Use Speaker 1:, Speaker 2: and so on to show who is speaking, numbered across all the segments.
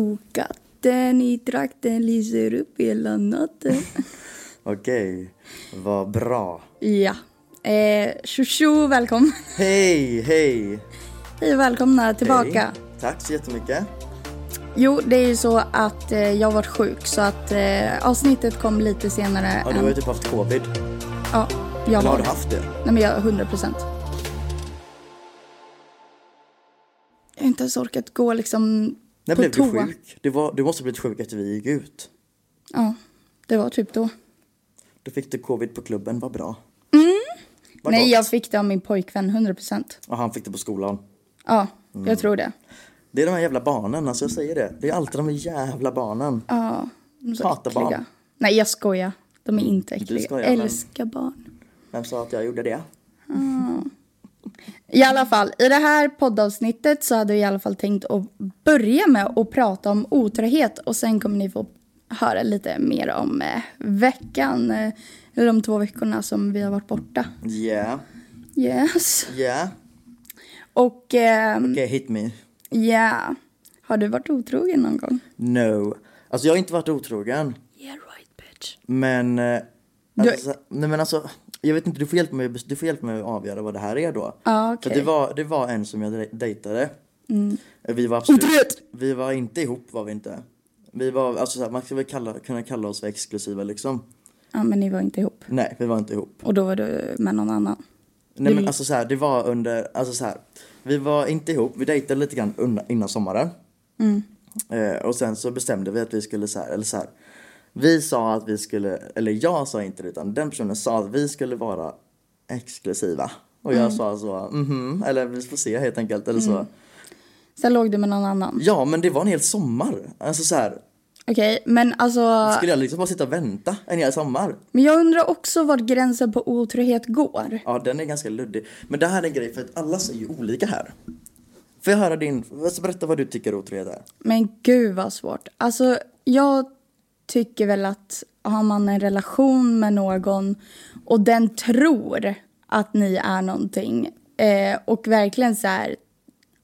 Speaker 1: Tjokatten i trakten lyser upp hela natten.
Speaker 2: Okej, vad bra.
Speaker 1: ja. Eh, tjo tjo, välkommen.
Speaker 2: Hej, hej!
Speaker 1: Hej och välkomna tillbaka.
Speaker 2: Hej. Tack så jättemycket.
Speaker 1: Jo, det är ju så att eh, jag har varit sjuk så att eh, avsnittet kom lite senare.
Speaker 2: Ja, du
Speaker 1: än-
Speaker 2: har ju typ haft covid.
Speaker 1: Ehm. Ja, jag
Speaker 2: Eller har
Speaker 1: har
Speaker 2: du haft det?
Speaker 1: Nej men jag, 100 procent. Jag har inte ens orkat gå liksom
Speaker 2: När
Speaker 1: på
Speaker 2: blev
Speaker 1: toa.
Speaker 2: du sjuk? Det var, du måste ha blivit sjuk efter vi gick ut.
Speaker 1: Ja, det var typ då.
Speaker 2: Då fick du covid på klubben, vad bra. Vad
Speaker 1: Nej,
Speaker 2: gott.
Speaker 1: jag fick det av min pojkvän 100 procent.
Speaker 2: Och han fick det på skolan.
Speaker 1: Ja,
Speaker 2: Mm.
Speaker 1: jag tror det.
Speaker 2: Det är de här jävla barnen, alltså jag säger det. Det är alltid de här jävla barnen.
Speaker 1: Ja, de är så
Speaker 2: Hatar
Speaker 1: äckliga.
Speaker 2: barn. Mm,
Speaker 1: Nej, jag skojar. De är inte
Speaker 2: du
Speaker 1: äckliga.
Speaker 2: skojar, men-
Speaker 1: Älskar barn.
Speaker 2: Vem sa att jag gjorde det?
Speaker 1: I alla fall, i det här poddavsnittet så hade vi i alla fall tänkt att börja med att prata om otrohet och sen kommer ni få höra lite mer om eh, veckan, eh, eller de två veckorna som vi har varit borta.
Speaker 2: Yeah,
Speaker 1: Yes.
Speaker 2: yeah.
Speaker 1: Och eh,
Speaker 2: Okay, hit me.
Speaker 1: yeah. Har du varit otrogen någon gång?
Speaker 2: No. Alltså jag har inte varit otrogen.
Speaker 1: Yeah right bitch.
Speaker 2: Men... eh,
Speaker 1: Du-
Speaker 2: Alltså, nej men alltså, jag vet inte, du får hjälpa mig, du får hjälpa mig att avgöra vad det här är då.
Speaker 1: Ja,
Speaker 2: För
Speaker 1: okej.
Speaker 2: det var, det var en som jag dej- dejtade. Vi var absolut...
Speaker 1: Otroligt!
Speaker 2: Vi var inte ihop var vi inte. Vi var, alltså så här, man ska väl kalla, kunna kalla oss för exklusiva liksom.
Speaker 1: Ja men ni var inte ihop.
Speaker 2: Nej, vi var inte ihop.
Speaker 1: Och då var du med någon annan.
Speaker 2: Nej men
Speaker 1: Du-
Speaker 2: alltså så här, det var under, alltså så här. Vi var inte ihop, vi dejtade lite grann unna- innan sommaren. Eh, och sen så bestämde vi att vi skulle så här, eller så här. Vi sa att vi skulle, eller jag sa inte det utan den personen sa att vi skulle vara exklusiva. Och jag sa så, mhm, eller vi får se helt enkelt. Eller så.
Speaker 1: Sen låg du med någon annan.
Speaker 2: Ja men det var en hel sommar. Alltså så här,
Speaker 1: Okej, men alltså.
Speaker 2: skulle jag liksom bara sitta och vänta en hel sommar?
Speaker 1: Men jag undrar också vart gränsen på otrohet går.
Speaker 2: Ja, den är ganska luddig. Men det här är en grej för att alla säger ju olika här. Får jag höra din, alltså berätta vad du tycker otrohet är.
Speaker 1: Men gud vad svårt. Alltså jag tycker väl att har man en relation med någon och den tror att ni är någonting eh, och verkligen så här,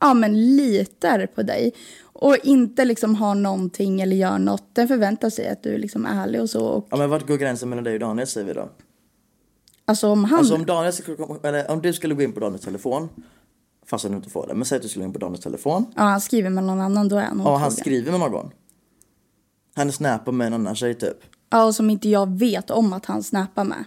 Speaker 1: ja men litar på dig och inte liksom har någonting eller gör något. Den förväntar sig att du är liksom ärlig och så. Och,
Speaker 2: Ja men vart går gränsen mellan dig och Daniel säger vi då?
Speaker 1: alltså om han...
Speaker 2: Alltså om Daniel skulle komma, eller om du skulle gå in på Daniels telefon. Fast du inte får det, men säg att du skulle gå in på Daniels telefon.
Speaker 1: ja, han skriver med någon annan, då är han
Speaker 2: Ja han
Speaker 1: otrogen.
Speaker 2: skriver med någon. Han snappar med en annan tjej typ.
Speaker 1: Ja, och som inte jag vet om att han snappar med.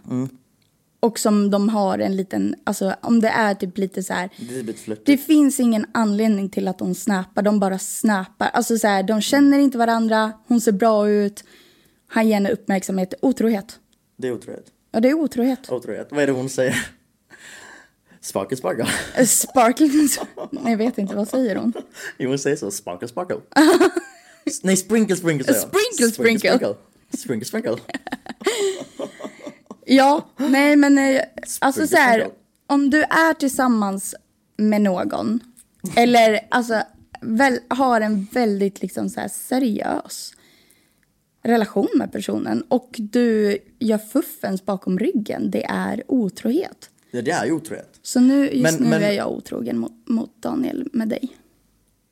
Speaker 1: Och som de har en liten, alltså om det är typ lite så här.
Speaker 2: Det är lite flörtigt.
Speaker 1: Det finns ingen anledning till att de snappar, de bara snappar. Alltså så här, de känner inte varandra, hon ser bra ut, han ger henne uppmärksamhet. Otrohet.
Speaker 2: Det är otrohet.
Speaker 1: Ja, det är otrohet.
Speaker 2: Otrohet. Vad är det hon säger? Sparkle sparkle.
Speaker 1: Eh, Sparkling, nej jag vet inte, vad säger hon?
Speaker 2: Jo hon säger så, sparkle sparkle. S- Nej sprinkle sprinkle säger hon.
Speaker 1: Sprinkle, sprinkle.
Speaker 2: Sprinkle sprinkle.
Speaker 1: Ja, nej men eh, alltså så här,
Speaker 2: Sprinkle.
Speaker 1: om du är tillsammans med någon eller alltså väl, har en väldigt liksom så här seriös relation med personen och du gör fuffens bakom ryggen, det är otrohet.
Speaker 2: Ja det är ju otrohet.
Speaker 1: Så nu, just
Speaker 2: Men-
Speaker 1: nu
Speaker 2: men-
Speaker 1: är jag otrogen mot, mot Daniel med dig.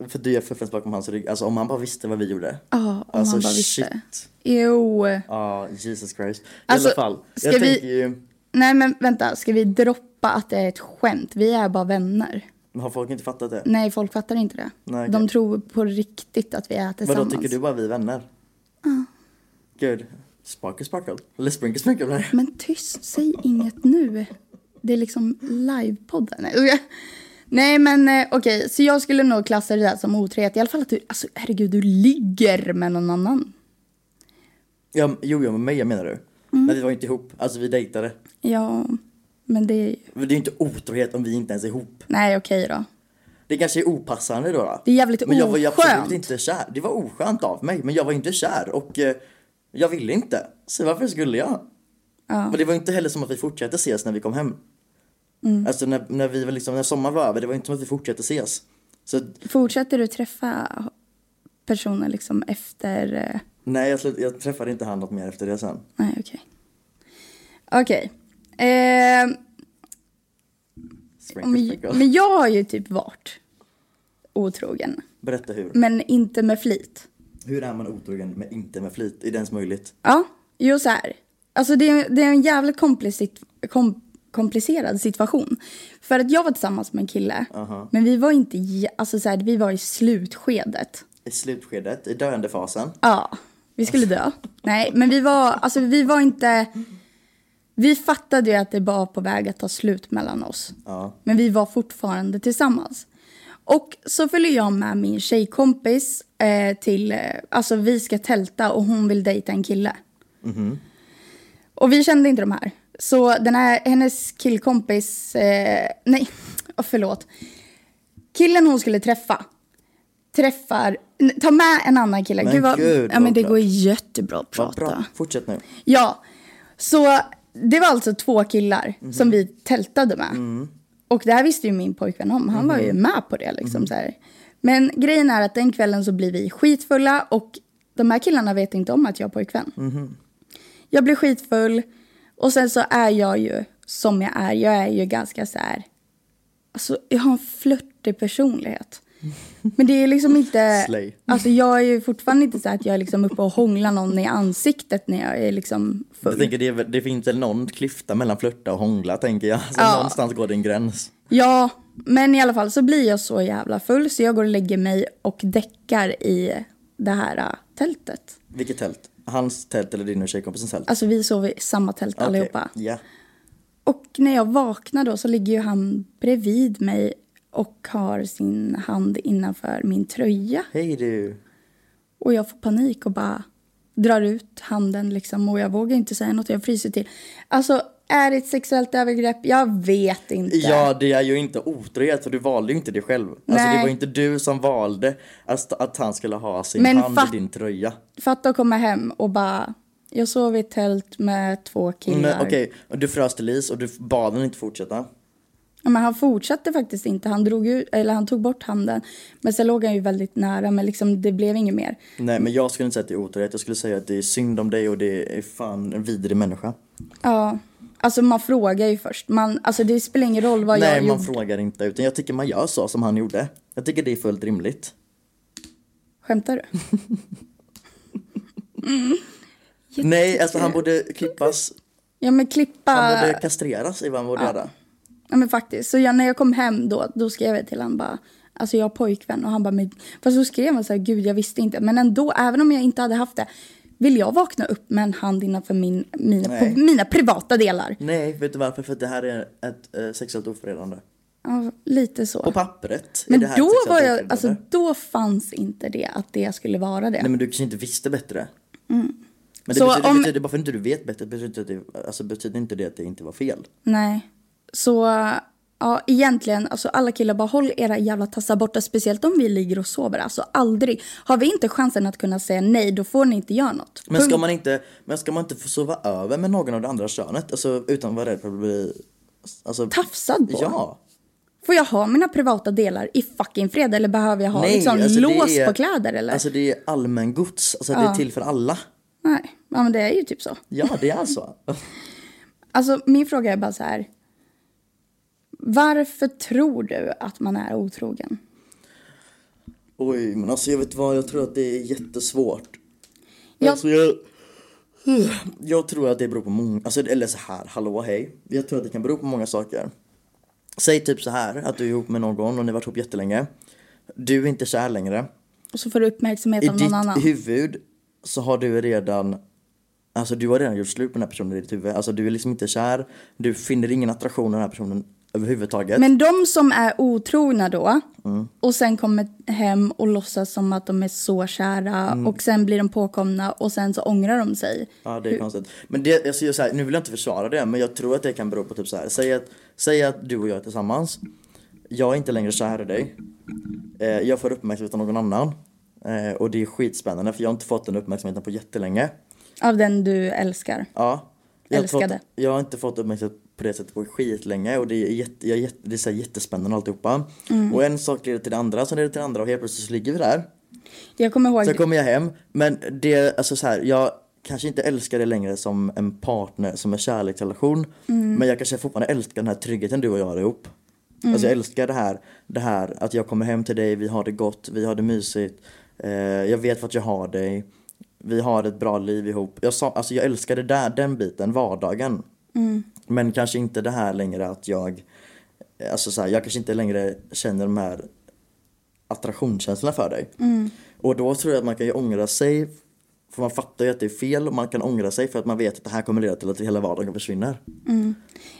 Speaker 2: För du gör fuffens bakom hans rygg. Alltså om han bara visste vad vi gjorde.
Speaker 1: Ja, om
Speaker 2: Alltså,
Speaker 1: han bara visste.
Speaker 2: shit.
Speaker 1: Jo.
Speaker 2: Ja, Jesus Christ. I
Speaker 1: Alltså,
Speaker 2: alla fall.
Speaker 1: ska
Speaker 2: Jag
Speaker 1: vi-
Speaker 2: tänker ju,
Speaker 1: Nej men vänta, ska vi droppa att det är ett skämt? Vi är bara vänner.
Speaker 2: har folk inte fattat det?
Speaker 1: Nej, folk fattar inte det.
Speaker 2: Nej,
Speaker 1: De
Speaker 2: okej.
Speaker 1: tror på riktigt att vi är tillsammans.
Speaker 2: Vadå, tycker du bara vi är vänner? Ja. Gud. Sparkle sparkle. Eller sprinkle sprinkle. Nej.
Speaker 1: Men tyst, säg inget nu. Det är liksom livepodden. Nej, jag- Nej men eh, okej, så jag skulle nog klassa det där som otrohet. I alla fall att du, alltså herregud, du ligger med någon annan.
Speaker 2: Ja, jo, jo, med mig menar du.
Speaker 1: Mm.
Speaker 2: Men vi var ju inte ihop. Alltså vi dejtade.
Speaker 1: Ja, men det är ju...
Speaker 2: Men Det är ju inte otrohet om vi inte ens är ihop.
Speaker 1: Nej okej då.
Speaker 2: Det kanske är opassande då. då.
Speaker 1: Det är jävligt
Speaker 2: Men jag var ju
Speaker 1: oskönt.
Speaker 2: absolut inte kär. Det var oskönt av mig, men jag var inte kär och eh, jag ville inte. Så varför skulle jag? Men det var ju inte heller som att vi fortsatte ses när vi kom hem.
Speaker 1: Mm.
Speaker 2: Alltså när, när vi var liksom, när sommaren var över, det var ju inte som att vi fortsatte ses. Så
Speaker 1: Fortsätter du träffa personer liksom efter... eh,
Speaker 2: nej, jag, slut, jag träffade inte han något mer efter det sen.
Speaker 1: Nej, okej. Okej. Eh,
Speaker 2: Sprinkle,
Speaker 1: om-
Speaker 2: sprinkle.
Speaker 1: men jag har ju typ varit otrogen.
Speaker 2: Berätta hur.
Speaker 1: men inte med flit.
Speaker 2: Hur är man otrogen men inte med flit? Är det ens möjligt?
Speaker 1: Ja, jo så här. Alltså det är, det är en jävligt komplici- kom, komplicerad situation. För att jag var tillsammans med en kille,
Speaker 2: Aha.
Speaker 1: men vi var inte, jä- alltså så här, vi var i slutskedet.
Speaker 2: I slutskedet, i döendefasen.
Speaker 1: Ja, vi skulle dö. Nej, men vi var, alltså vi var inte, vi fattade ju att det var på väg att ta slut mellan oss.
Speaker 2: Ja.
Speaker 1: Men vi var fortfarande tillsammans. Och så följer jag med min tjejkompis eh, till, eh, alltså vi ska tälta och hon vill dejta en kille. Och vi kände inte de här. Så den här, hennes killkompis, eh, nej, oh, förlåt. Killen hon skulle träffa, träffar, n- ta med en annan kille.
Speaker 2: Men gud,
Speaker 1: ja men
Speaker 2: vad
Speaker 1: det
Speaker 2: bra.
Speaker 1: går jättebra att
Speaker 2: Vad
Speaker 1: prata.
Speaker 2: bra, fortsätt nu.
Speaker 1: Ja, så det var alltså två killar som vi tältade med. Och det här visste ju min pojkvän om. Han var ju med på det. Liksom, så här. Men grejen är att den kvällen så blir vi skitfulla och de här killarna vet inte om att jag har pojkvän. Jag blir skitfull och sen så är jag ju som jag är. Jag är ju ganska så här... Alltså, jag har en flörtig personlighet. Men det är liksom inte...
Speaker 2: Slay.
Speaker 1: Alltså, jag är ju fortfarande inte så här att jag är liksom uppe och hånglar någon i ansiktet när jag är liksom
Speaker 2: Jag
Speaker 1: full.
Speaker 2: tänker det, är väl- det finns väl någon klyfta mellan flörta och hångla tänker jag. Alltså,
Speaker 1: Ja.
Speaker 2: Någonstans går det en gräns.
Speaker 1: Ja, men i alla fall så blir jag så jävla full så jag går och lägger mig och däckar i det här äh, tältet.
Speaker 2: Vilket tält? Hans tält eller din och tjejkompisens tält?
Speaker 1: Alltså vi sov i samma tält
Speaker 2: Okej,
Speaker 1: Alltså, allihopa.
Speaker 2: Ja.
Speaker 1: Och när jag vaknar då så ligger ju han bredvid mig och har sin hand innanför min tröja.
Speaker 2: Hej du.
Speaker 1: Och jag får panik och bara drar ut handen liksom och jag vågar inte säga något, jag fryser till. Alltså, är det ett sexuellt övergrepp? Jag vet inte.
Speaker 2: Ja, det är ju inte otrohet för du valde ju inte det själv. Alltså
Speaker 1: Nej.
Speaker 2: det var ju inte du som valde att, att han skulle ha sin
Speaker 1: Men
Speaker 2: hand
Speaker 1: fatt-
Speaker 2: i din tröja.
Speaker 1: Fatta att komma hem och bara, jag sov i ett tält med två killar.
Speaker 2: Men Okej, och du frös till is och du bad honom inte fortsätta.
Speaker 1: Ja, men han fortsatte faktiskt inte. Han, drog ut, eller han tog bort handen. Men sen låg han ju väldigt nära, men liksom, det blev inget mer.
Speaker 2: Nej men jag skulle inte säga att det är otrohet, jag skulle säga att det är synd om dig och det är fan en vidrig människa.
Speaker 1: Ja, alltså man frågar ju först. Man, alltså, det spelar ingen roll vad
Speaker 2: Nej
Speaker 1: jag
Speaker 2: man
Speaker 1: gjorde.
Speaker 2: frågar inte utan jag tycker man gör så som han gjorde. Jag tycker det är fullt rimligt.
Speaker 1: Skämtar du?
Speaker 2: Nej alltså han borde klippas,
Speaker 1: Ja, men klippa...
Speaker 2: han borde kastreras i vad han borde göra.
Speaker 1: Ja, men faktiskt. Så jag, när jag kom hem då, då skrev jag till honom bara, alltså jag har pojkvän. Och han bara, men... Fast så skrev han så här, gud jag visste inte. Men ändå, även om jag inte hade haft det, vill jag vakna upp med en hand innanför min, mina,
Speaker 2: Nej.
Speaker 1: på, mina privata delar?
Speaker 2: Nej vet du varför? För att det här är ett eh, sexuellt ofredande.
Speaker 1: Ja, lite så.
Speaker 2: På pappret är
Speaker 1: Men
Speaker 2: det här
Speaker 1: då
Speaker 2: sexuellt
Speaker 1: var jag,
Speaker 2: ofredande.
Speaker 1: alltså då fanns inte det att det skulle vara det.
Speaker 2: Nej men du kanske inte visste bättre. Men det
Speaker 1: Mm. Så
Speaker 2: betyder,
Speaker 1: om-
Speaker 2: det betyder, bara för att inte du vet bättre betyder inte, att det, alltså, betyder inte det att det inte var fel.
Speaker 1: Nej. Så ja, egentligen, alltså alla killar bara håll era jävla tassar borta, speciellt om vi ligger och sover. Alltså aldrig. Har vi inte chansen att kunna säga nej, då får ni inte göra något.
Speaker 2: Men ska
Speaker 1: Punkt.
Speaker 2: man inte, men ska man inte få sova över med någon av det andra könet? Alltså utan att vara rädd för att bli... Alltså,
Speaker 1: Tafsad på?
Speaker 2: Ja!
Speaker 1: Får jag ha mina privata delar i fucking fred eller behöver jag ha
Speaker 2: Nej,
Speaker 1: liksom,
Speaker 2: alltså, det
Speaker 1: lås
Speaker 2: är-
Speaker 1: på kläder eller?
Speaker 2: Alltså det är allmängods, alltså det är till för alla.
Speaker 1: Nej, ja, men det är ju typ så.
Speaker 2: Ja det är så.
Speaker 1: Alltså min fråga är bara så här. Varför tror du att man är otrogen?
Speaker 2: Oj men alltså jag vet vad, jag tror att det är jättesvårt.
Speaker 1: Jag-
Speaker 2: Alltså jag... Jag tror att det beror på många, alltså, eller så här, hallå hej. Jag tror att det kan bero på många saker. Säg typ så här att du är ihop med någon och ni har varit ihop jättelänge. Du är inte kär längre.
Speaker 1: Och så får du uppmärksamhet
Speaker 2: I
Speaker 1: av någon
Speaker 2: ditt
Speaker 1: annan.
Speaker 2: huvud så har du redan Alltså du har redan gjort slut med den här personen i ditt huvud. Alltså du är liksom inte kär. Du finner ingen attraktion av den här personen överhuvudtaget.
Speaker 1: Men de som är otrogna då
Speaker 2: Mm.
Speaker 1: och sen kommer hem och låtsas som att de är så kära
Speaker 2: Mm.
Speaker 1: och sen blir de påkomna och sen så ångrar de sig.
Speaker 2: Ja det är konstigt. Men det, jag ser så här, nu vill jag inte försvara det men jag tror att det kan bero på typ så här. Säg att, säg att du och jag är tillsammans. Jag är inte längre kär i dig. Eh, jag får uppmärksamhet av någon annan. Eh, och det är skitspännande för jag har inte fått den uppmärksamheten på jättelänge.
Speaker 1: Av den du älskar.
Speaker 2: Ja. Jag har, inte fått,
Speaker 1: Älskade.
Speaker 2: jag har inte fått uppmärksamhet på det sättet på skitlänge och det är, jätte, jag, är jätte- det är så här jättespännande alltihopa. Och en sak leder till det andra, sen leder det till det andra och helt plötsligt så ligger vi där.
Speaker 1: Jag kommer ihåg,
Speaker 2: Sen kommer jag hem, men det, alltså så här, jag kanske inte älskar det längre som en partner, som en kärleksrelation. Men jag kanske fortfarande älskar den här tryggheten du och jag har ihop. Alltså jag älskar det här, det här att jag kommer hem till dig, vi har det gott, vi har det mysigt. Eh, jag vet vart jag har dig. Vi har ett bra liv ihop. Jag, sa, alltså jag älskar det där, den biten, vardagen. Men kanske inte det här längre att jag, alltså så här, jag kanske inte längre känner de här attraktionskänslorna för dig.
Speaker 1: Mm.
Speaker 2: Och då tror jag att man kan ju ångra sig, för man fattar ju att det är fel och man kan ångra sig för att man vet att det här kommer leda till att hela vardagen försvinner.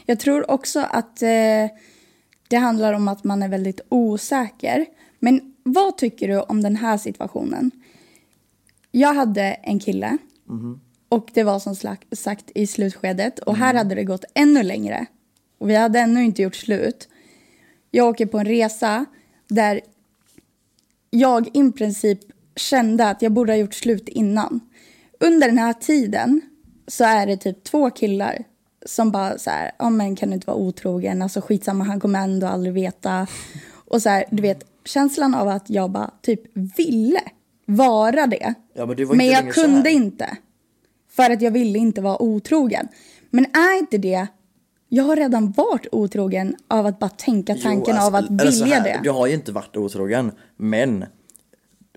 Speaker 1: Jag tror också att eh, det handlar om att man är väldigt osäker. Men vad tycker du om den här situationen? Jag hade en kille och det var som slak- sagt i slutskedet och här hade det gått ännu längre och vi hade ännu inte gjort slut. Jag åker på en resa där jag i princip kände att jag borde ha gjort slut innan. Under den här tiden så är det typ två killar som bara så här, ja men kan du inte vara otrogen, alltså skitsamma han kommer ändå aldrig veta. Och så här, du vet känslan av att jag bara typ ville vara det.
Speaker 2: Ja, men det var
Speaker 1: men
Speaker 2: inte
Speaker 1: jag
Speaker 2: länge så
Speaker 1: kunde
Speaker 2: här.
Speaker 1: inte. För att jag ville inte vara otrogen. Men är inte det, jag har redan varit otrogen av att bara tänka tanken
Speaker 2: Jo, alltså,
Speaker 1: av att
Speaker 2: eller så
Speaker 1: vilja
Speaker 2: här,
Speaker 1: det.
Speaker 2: Du har ju inte varit otrogen, men...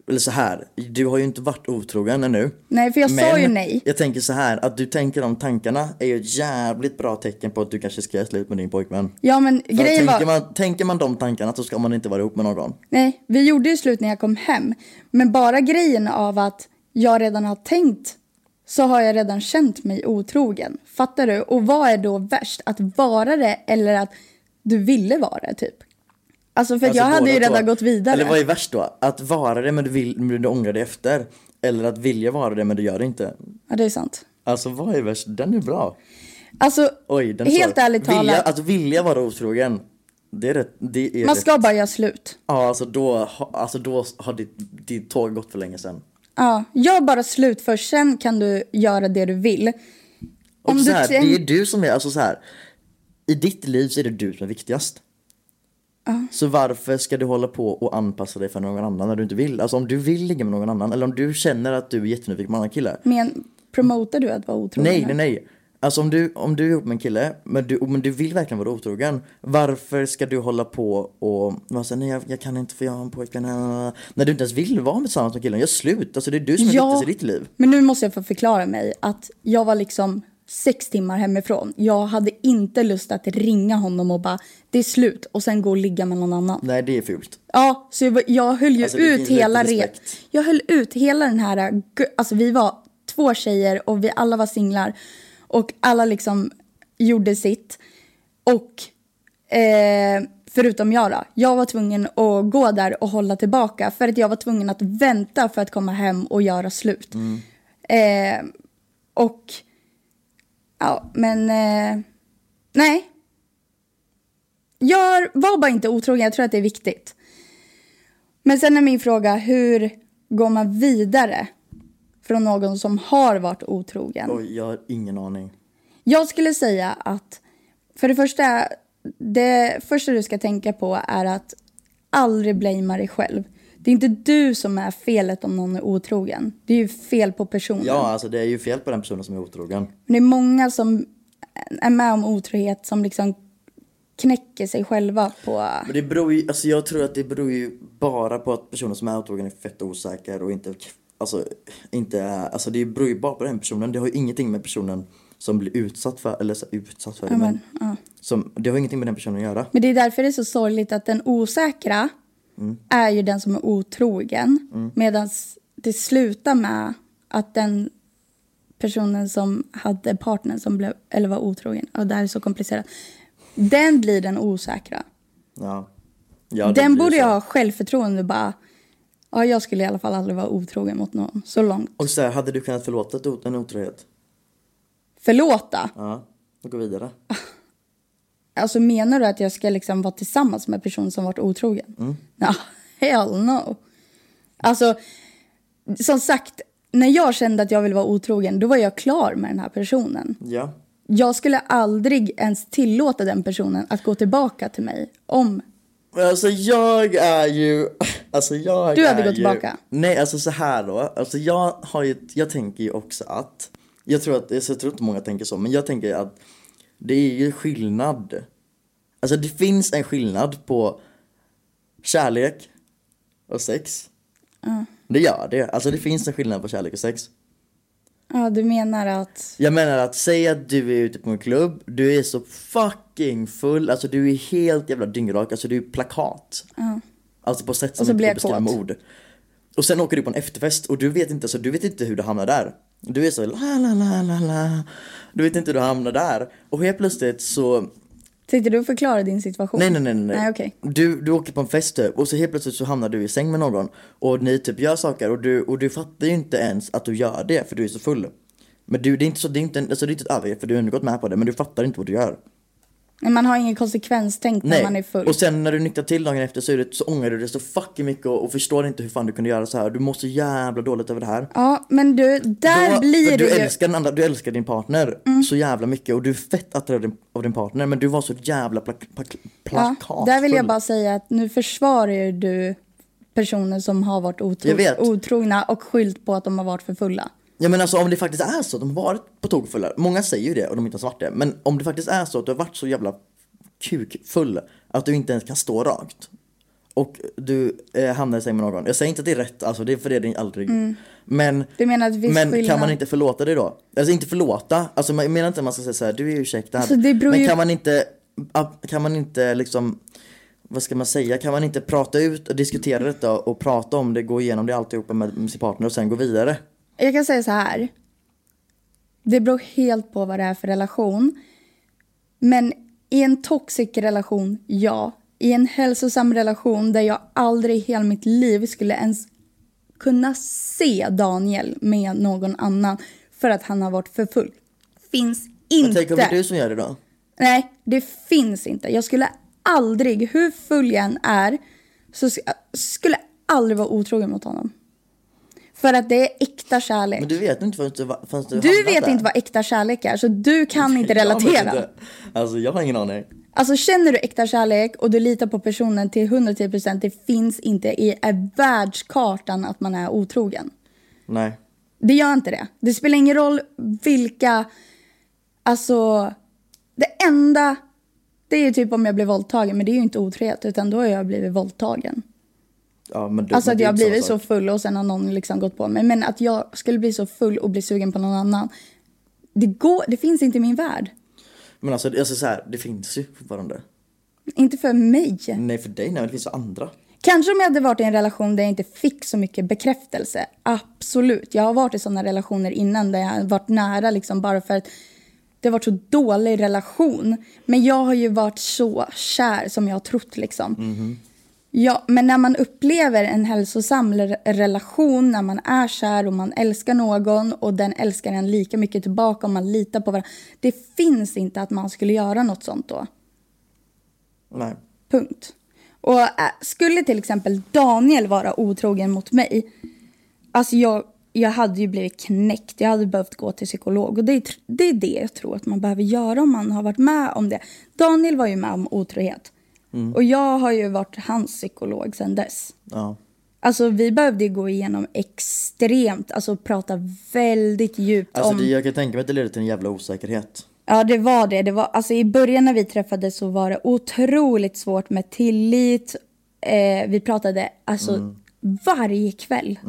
Speaker 2: Eller så här, du har ju inte varit otrogen ännu.
Speaker 1: Nej, för jag sa
Speaker 2: Men
Speaker 1: ju nej.
Speaker 2: jag tänker så här, att du tänker de tankarna är ju ett jävligt bra tecken på att du kanske ska göra slut med din pojkvän.
Speaker 1: Ja men
Speaker 2: För
Speaker 1: grejen var,
Speaker 2: tänker, man, tänker man de tankarna så ska man inte vara ihop med någon.
Speaker 1: nej vi gjorde ju slut när jag kom hem. Men bara grejen av att jag redan har tänkt så har jag redan känt mig otrogen. Fattar du? Och vad är då värst? Att vara det eller att du ville vara det typ? Alltså för att jag
Speaker 2: Alltså
Speaker 1: hade ju
Speaker 2: båda
Speaker 1: redan
Speaker 2: två.
Speaker 1: gått vidare.
Speaker 2: Eller vad är värst då? Att vara det men du, vill, men du ångrar dig efter? Eller att vilja vara det men du gör det inte?
Speaker 1: Ja det är sant.
Speaker 2: Alltså vad är värst? Den är bra.
Speaker 1: Alltså
Speaker 2: Oj, den är
Speaker 1: helt
Speaker 2: svår.
Speaker 1: ärligt talat,
Speaker 2: vilja, Att vilja vara otrogen, det är rätt. Det är
Speaker 1: man
Speaker 2: rätt.
Speaker 1: ska bara göra slut.
Speaker 2: Ja, alltså då, ha- alltså då har ditt, ditt tåg gått för länge sedan.
Speaker 1: Ja, gör bara slut först, sen kan du göra det du vill.
Speaker 2: Och
Speaker 1: Om
Speaker 2: så
Speaker 1: du
Speaker 2: här,
Speaker 1: tänk-
Speaker 2: det är du som är, alltså så här. I ditt liv så är det du som är viktigast. Så varför ska du hålla på och anpassa dig för någon annan när du inte vill? Alltså om du vill ligga med någon annan eller om du känner att du är jättenyfiken på en annan kille.
Speaker 1: Men promotar du att vara otrogen?
Speaker 2: Nej, nej, nej. Alltså om du, om du är ihop med en kille men du, men du vill verkligen vara otrogen. Varför ska du hålla på och vara såhär, nej jag, jag kan inte för jag har en pojkvän. äh." När du inte ens vill vara tillsammans med killen, gör slut. Alltså det är du som är
Speaker 1: Ja.
Speaker 2: viktigast i ditt liv.
Speaker 1: Men nu måste jag få förklara mig att jag var liksom sex timmar hemifrån. Jag hade inte lust att ringa honom och bara det är slut och sen gå och ligga med någon annan.
Speaker 2: Nej det är fult.
Speaker 1: Ja, så jag, var- jag höll ju
Speaker 2: Alltså, det
Speaker 1: ut
Speaker 2: finns lite
Speaker 1: hela re-
Speaker 2: respekt.
Speaker 1: Jag höll ut hela den här, gu- alltså vi var två tjejer och vi alla var singlar och alla liksom gjorde sitt. Och eh, förutom jag då, jag var tvungen att gå där och hålla tillbaka för att jag var tvungen att vänta för att komma hem och göra slut.
Speaker 2: Mm.
Speaker 1: Eh, och ja, men eh, nej. Gör, var bara inte otrogen, jag tror att det är viktigt. Men sen är min fråga, hur går man vidare från någon som har varit otrogen?
Speaker 2: Oj, jag har ingen aning.
Speaker 1: Jag skulle säga att för det första, det första du ska tänka på är att aldrig blamea dig själv. Det är inte du som är felet om någon är otrogen. Det är ju fel på personen.
Speaker 2: Ja, alltså det är ju fel på den personen som är otrogen.
Speaker 1: Men det är många som är med om otrohet som liksom knäcker sig själva på...
Speaker 2: Men det beror ju, alltså jag tror att det beror ju bara på att personen som är otrogen är fett osäker och inte, alltså inte är, alltså det beror ju bara på den personen. Det har ju ingenting med personen som blir utsatt för, eller så, utsatt för det, men, som, det har ingenting med den personen att göra.
Speaker 1: Men det är därför det är så sorgligt att den osäkra
Speaker 2: Mm.
Speaker 1: är ju den som är otrogen. Medan det slutar med att den personen som hade partnern som blev, eller var otrogen, och det här är så komplicerat. Den blir den osäkra.
Speaker 2: Ja. ja det
Speaker 1: den
Speaker 2: blir
Speaker 1: borde
Speaker 2: så.
Speaker 1: ju ha självförtroende och bara, ja jag skulle i alla fall aldrig vara otrogen mot någon så långt.
Speaker 2: Och så här, hade du kunnat förlåta ett ot- en otrohet?
Speaker 1: Förlåta!
Speaker 2: Ja. Och gå vidare.
Speaker 1: Alltså menar du att jag ska liksom vara tillsammans med en person som varit otrogen? Mm. hell no. Alltså, som sagt, när jag kände att jag ville vara otrogen, då var jag klar med den här personen.
Speaker 2: Ja.
Speaker 1: Jag skulle aldrig ens tillåta den personen att gå tillbaka till mig om...
Speaker 2: Men alltså jag är ju... Alltså jag
Speaker 1: Du hade
Speaker 2: är
Speaker 1: gått
Speaker 2: ju,
Speaker 1: tillbaka?
Speaker 2: Nej, alltså så här då. Alltså jag har ju... Jag tänker ju också att... alltså, Jag tror att... Jag tror inte många tänker så, men jag tänker att det är ju skillnad Alltså det finns en skillnad på kärlek och sex.
Speaker 1: Ja.
Speaker 2: Det gör det. Alltså det finns en skillnad på kärlek och sex.
Speaker 1: Ja, du menar att...
Speaker 2: Jag menar att säga att du är ute på en klubb, du är så fucking full, alltså du är helt jävla dyngrak, alltså du är plakat. Alltså på sätt som
Speaker 1: Och så
Speaker 2: inte
Speaker 1: blir
Speaker 2: går
Speaker 1: jag
Speaker 2: att beskriva
Speaker 1: kåt.
Speaker 2: med ord. Och sen åker du på en efterfest och du vet inte, så du vet inte hur du hamnar där. Du är så la la la la la. Du vet inte hur du hamnar där. Och helt plötsligt så
Speaker 1: Tänkte du förklara din situation?
Speaker 2: Nej, nej, nej. nej.
Speaker 1: Nej, okej.
Speaker 2: du, du åker på en fest typ, och så helt plötsligt så hamnar du i säng med någon och ni typ gör saker och du, och du fattar ju inte ens att du gör det för du är så full. Men du, det är inte, så, det är inte, en- alltså, det är inte ett övergrepp för du har ändå gått med på det men du fattar inte vad du gör.
Speaker 1: Nej, Man har ingen konsekvenstänk när man är full.
Speaker 2: Och sen när du nyktar till dagen efter så, är det, så ångrar du dig så fucking mycket och, och förstår inte hur fan du kunde göra så här. Du mår så jävla dåligt över det här.
Speaker 1: Ja, men du, där
Speaker 2: Då- för
Speaker 1: blir
Speaker 2: du
Speaker 1: du ju... Mm.
Speaker 2: älskar den andra, du älskar din partner så jävla mycket och du är fett attraherad av din- av din partner men du var så jävla plak, plak,
Speaker 1: Ja,
Speaker 2: plakatfull.
Speaker 1: där vill jag bara säga att nu försvarar ju du personer som har varit
Speaker 2: Jag
Speaker 1: otro,
Speaker 2: vet.
Speaker 1: otrogna och skyllt på att de har varit för fulla.
Speaker 2: Ja men alltså om det faktiskt är så att de har varit på tok fulla. Många säger ju det och de har inte ens varit det. Men om det faktiskt är så att du har varit så jävla kukfull att du inte ens kan stå rakt. Och du eh, hamnar i säng med någon. Jag säger inte att det är rätt, alltså det är för det är det aldrig. Men,
Speaker 1: Du menar att det finns
Speaker 2: men kan
Speaker 1: Mm. skillnad?
Speaker 2: man inte förlåta det då? Alltså inte förlåta, alltså man- jag menar inte att man ska säga såhär, du är ursäktad.
Speaker 1: Alltså, det beror
Speaker 2: men
Speaker 1: ju-
Speaker 2: kan man inte, ap- kan man inte liksom, vad ska man säga, kan man inte prata ut och diskutera detta och prata om det, gå igenom det alltihopa med, med sin partner och sen gå vidare?
Speaker 1: Jag kan säga så här. Det beror helt på vad det är för relation. Men i en toxic relation, ja. I en hälsosam relation där jag aldrig i hela mitt liv skulle ens kunna se Daniel med någon annan för att han har varit för full. Finns
Speaker 2: Men tänk om det
Speaker 1: inte.
Speaker 2: är du som gör det då?
Speaker 1: Nej, det finns inte. Jag skulle aldrig, hur full jag än är, så sk- skulle jag aldrig vara otrogen mot honom. För att det är äkta kärlek.
Speaker 2: Men du vet inte förrän du, förrän du
Speaker 1: Du
Speaker 2: hamnar
Speaker 1: vet
Speaker 2: där.
Speaker 1: inte vad äkta kärlek är, så du kan inte
Speaker 2: Jag vet
Speaker 1: relatera.
Speaker 2: inte. Alltså jag har ingen aning.
Speaker 1: Alltså känner du äkta kärlek och du litar på personen till 110%, det finns inte i världskartan att man är otrogen.
Speaker 2: Nej.
Speaker 1: Det gör inte det. Det spelar ingen roll vilka, alltså, det enda, det är ju typ om jag blir våldtagen, men det är ju inte otrohet, utan då har jag blivit våldtagen.
Speaker 2: Ja, men du,
Speaker 1: Alltså
Speaker 2: men
Speaker 1: att
Speaker 2: det är
Speaker 1: jag har
Speaker 2: inte samma
Speaker 1: blivit så
Speaker 2: sak.
Speaker 1: full och sen har någon liksom gått på mig. Men att jag skulle bli så full och bli sugen på någon annan, det går, det finns inte i min värld.
Speaker 2: Men alltså, alltså så här, det finns ju fortfarande.
Speaker 1: Inte för mig.
Speaker 2: Nej för dig, nej men det finns för andra.
Speaker 1: Kanske om jag hade varit i en relation där jag inte fick så mycket bekräftelse. Absolut. Jag har varit i sådana relationer innan där jag har varit nära liksom bara för att det har varit så dålig relation. Men jag har ju varit så kär som jag har trott liksom. Ja, men när man upplever en hälsosam re- relation, när man är kär och man älskar någon och den älskar en lika mycket tillbaka och man litar på varandra. Det finns inte att man skulle göra något sånt då.
Speaker 2: Nej.
Speaker 1: Punkt. Och äh, skulle till exempel Daniel vara otrogen mot mig, alltså jag, jag hade ju blivit knäckt, jag hade behövt gå till psykolog och det är, tr- det är det jag tror att man behöver göra om man har varit med om det. Daniel var ju med om otrohet
Speaker 2: Mm.
Speaker 1: och jag har ju varit hans psykolog sedan dess.
Speaker 2: Ja.
Speaker 1: Alltså vi behövde ju gå igenom extremt, alltså prata väldigt djupt
Speaker 2: Alltså
Speaker 1: om...
Speaker 2: det, jag kan tänka mig att det leder till en jävla osäkerhet.
Speaker 1: Ja, det var det. det var, alltså, I början när vi träffades så var det otroligt svårt med tillit. Eh, vi pratade alltså
Speaker 2: Mm.
Speaker 1: varje kväll.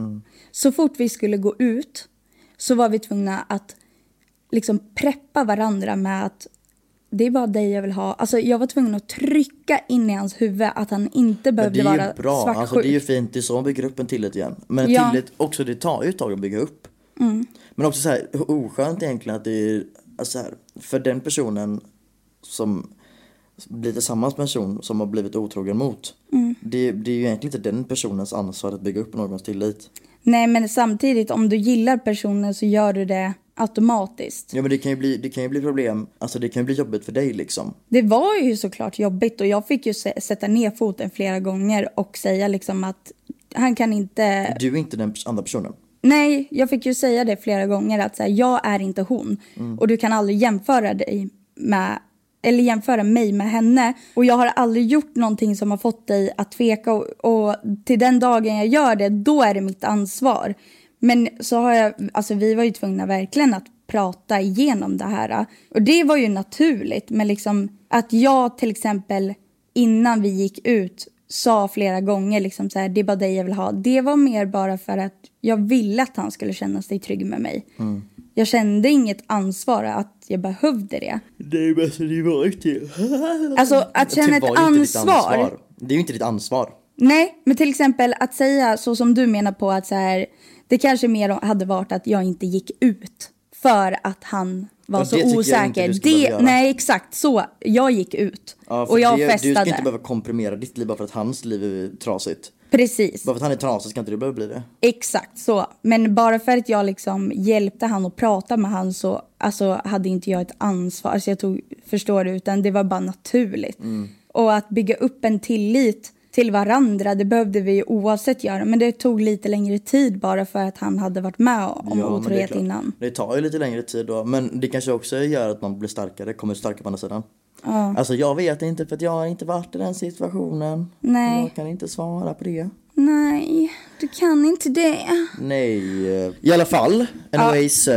Speaker 1: Så fort vi skulle gå ut så var vi tvungna att liksom preppa varandra med att det är bara dig jag vill ha. Alltså, jag var tvungen att trycka in i hans huvud att han inte
Speaker 2: Men det
Speaker 1: behövde
Speaker 2: är
Speaker 1: vara
Speaker 2: ju bra,
Speaker 1: svartsjuk.
Speaker 2: alltså det är ju fint, det är så man bygger upp en tillit igen. Men
Speaker 1: Ja. Mm.
Speaker 2: tillit också, det tar ju ett tag att bygga upp. Men också så här, hur oskönt egentligen att det är, alltså så här, för den personen som blir tillsammans med en person som har blivit otrogen mot.
Speaker 1: Mm.
Speaker 2: Det, det är ju egentligen inte den personens ansvar att bygga upp någons tillit.
Speaker 1: Nej, men samtidigt om du gillar personen så gör du det automatiskt.
Speaker 2: Ja men det kan ju bli, det kan ju bli problem, alltså det kan ju bli jobbigt för dig liksom.
Speaker 1: Det var ju såklart jobbigt och jag fick ju sä- sätta ner foten flera gånger och säga liksom att han kan inte...
Speaker 2: Du är inte den pers- andra personen.
Speaker 1: Nej, jag fick ju säga det flera gånger att så här, jag är inte hon och du kan aldrig jämföra dig med eller jämföra mig med henne och jag har aldrig gjort någonting som har fått dig att tveka och, och till den dagen jag gör det då är det mitt ansvar. Men så har jag, alltså vi var ju tvungna verkligen att prata igenom det här. Och det var ju naturligt, men liksom att jag till exempel innan vi gick ut sa flera gånger liksom så här, det är bara dig jag vill ha. Det var mer bara för att jag ville att han skulle känna sig trygg med mig.
Speaker 2: Mm.
Speaker 1: Jag kände inget ansvar att jag behövde det.
Speaker 2: Nej men alltså det var inte... Mm.
Speaker 1: Alltså att känna ett ansvar.
Speaker 2: Det är ju inte ditt ansvar.
Speaker 1: Nej, men till exempel att säga så som du menar på att så här, det kanske mer hade varit att jag inte gick ut för att han var
Speaker 2: Ja,
Speaker 1: så
Speaker 2: det tycker jag inte
Speaker 1: osäker.
Speaker 2: du skulle behöva göra.
Speaker 1: nej, exakt så. Jag gick ut
Speaker 2: Ja, för
Speaker 1: och jag
Speaker 2: det, Du ska
Speaker 1: festade.
Speaker 2: inte behöva komprimera ditt liv bara för att hans liv är trasigt.
Speaker 1: Precis,
Speaker 2: Bara för att han är trasig ska inte du behöva bli det.
Speaker 1: exakt så. Men bara för att jag liksom hjälpte han och pratade med han så alltså, hade inte jag ett ansvar. Så jag tog, förstår du, utan det var bara naturligt.
Speaker 2: Mm.
Speaker 1: Och att bygga upp en tillit till varandra, det behövde vi ju oavsett göra. Men det tog lite längre tid bara för att han hade varit med om
Speaker 2: men det är
Speaker 1: otrohet
Speaker 2: klart.
Speaker 1: innan.
Speaker 2: Det tar ju lite längre tid då. Men det kanske också gör att man blir starkare, kommer starkare på andra sidan. Alltså jag vet inte för att jag har inte varit i den situationen.
Speaker 1: Nej.
Speaker 2: Jag kan inte svara på det.
Speaker 1: Nej, du kan inte det.
Speaker 2: Nej. eh, I alla fall. Anyway so.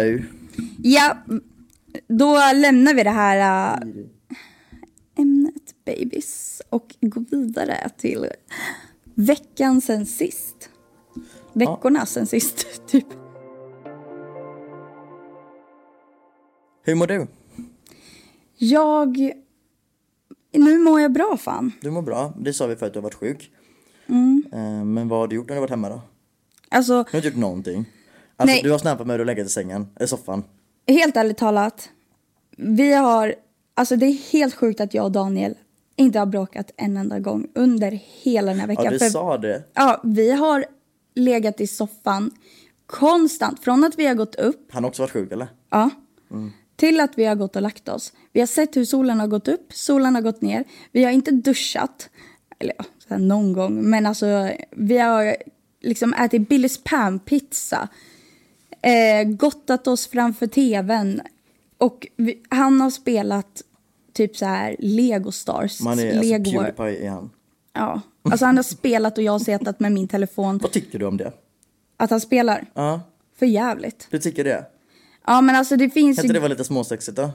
Speaker 1: Ja, då lämnar vi det här äh, ämnet babies och går vidare till veckan sen sist. Veckorna sen sist, typ.
Speaker 2: Hur mår du?
Speaker 1: Jag... Nu mår jag bra fan.
Speaker 2: Du mår bra. Det sa vi för att du har varit sjuk.
Speaker 1: Mm.
Speaker 2: Eh, Men vad har du gjort när du har varit hemma då?
Speaker 1: Alltså,
Speaker 2: Du har inte gjort någonting. Alltså
Speaker 1: Nej.
Speaker 2: du har snappat mig och legat i sängen, eller soffan.
Speaker 1: helt ärligt talat. Vi har... Alltså det är helt sjukt att jag och Daniel inte har bråkat en enda gång under hela den här veckan.
Speaker 2: Ja du
Speaker 1: För-
Speaker 2: sa det.
Speaker 1: Ja, vi har legat i soffan konstant. Från att vi har gått upp
Speaker 2: Han har också varit sjuk eller?
Speaker 1: ja, till att vi har gått och lagt oss. Vi har sett hur solen har gått upp, solen har gått ner. Vi har inte duschat, eller ja, så här någon gång, men alltså vi har liksom ätit Billys panpizza, eh, gottat oss framför tvn och vi, han har spelat typ så här Lego Stars,
Speaker 2: Man är alltså,
Speaker 1: Lego...
Speaker 2: Pewdiepie är han.
Speaker 1: ja. Alltså han har spelat och jag har setat med min telefon
Speaker 2: Vad tycker du om det?
Speaker 1: att han spelar.
Speaker 2: Ja,
Speaker 1: För jävligt.
Speaker 2: du tycker det?
Speaker 1: Ja men alltså det finns
Speaker 2: Kan inte det
Speaker 1: ju...
Speaker 2: vara lite småsexigt då?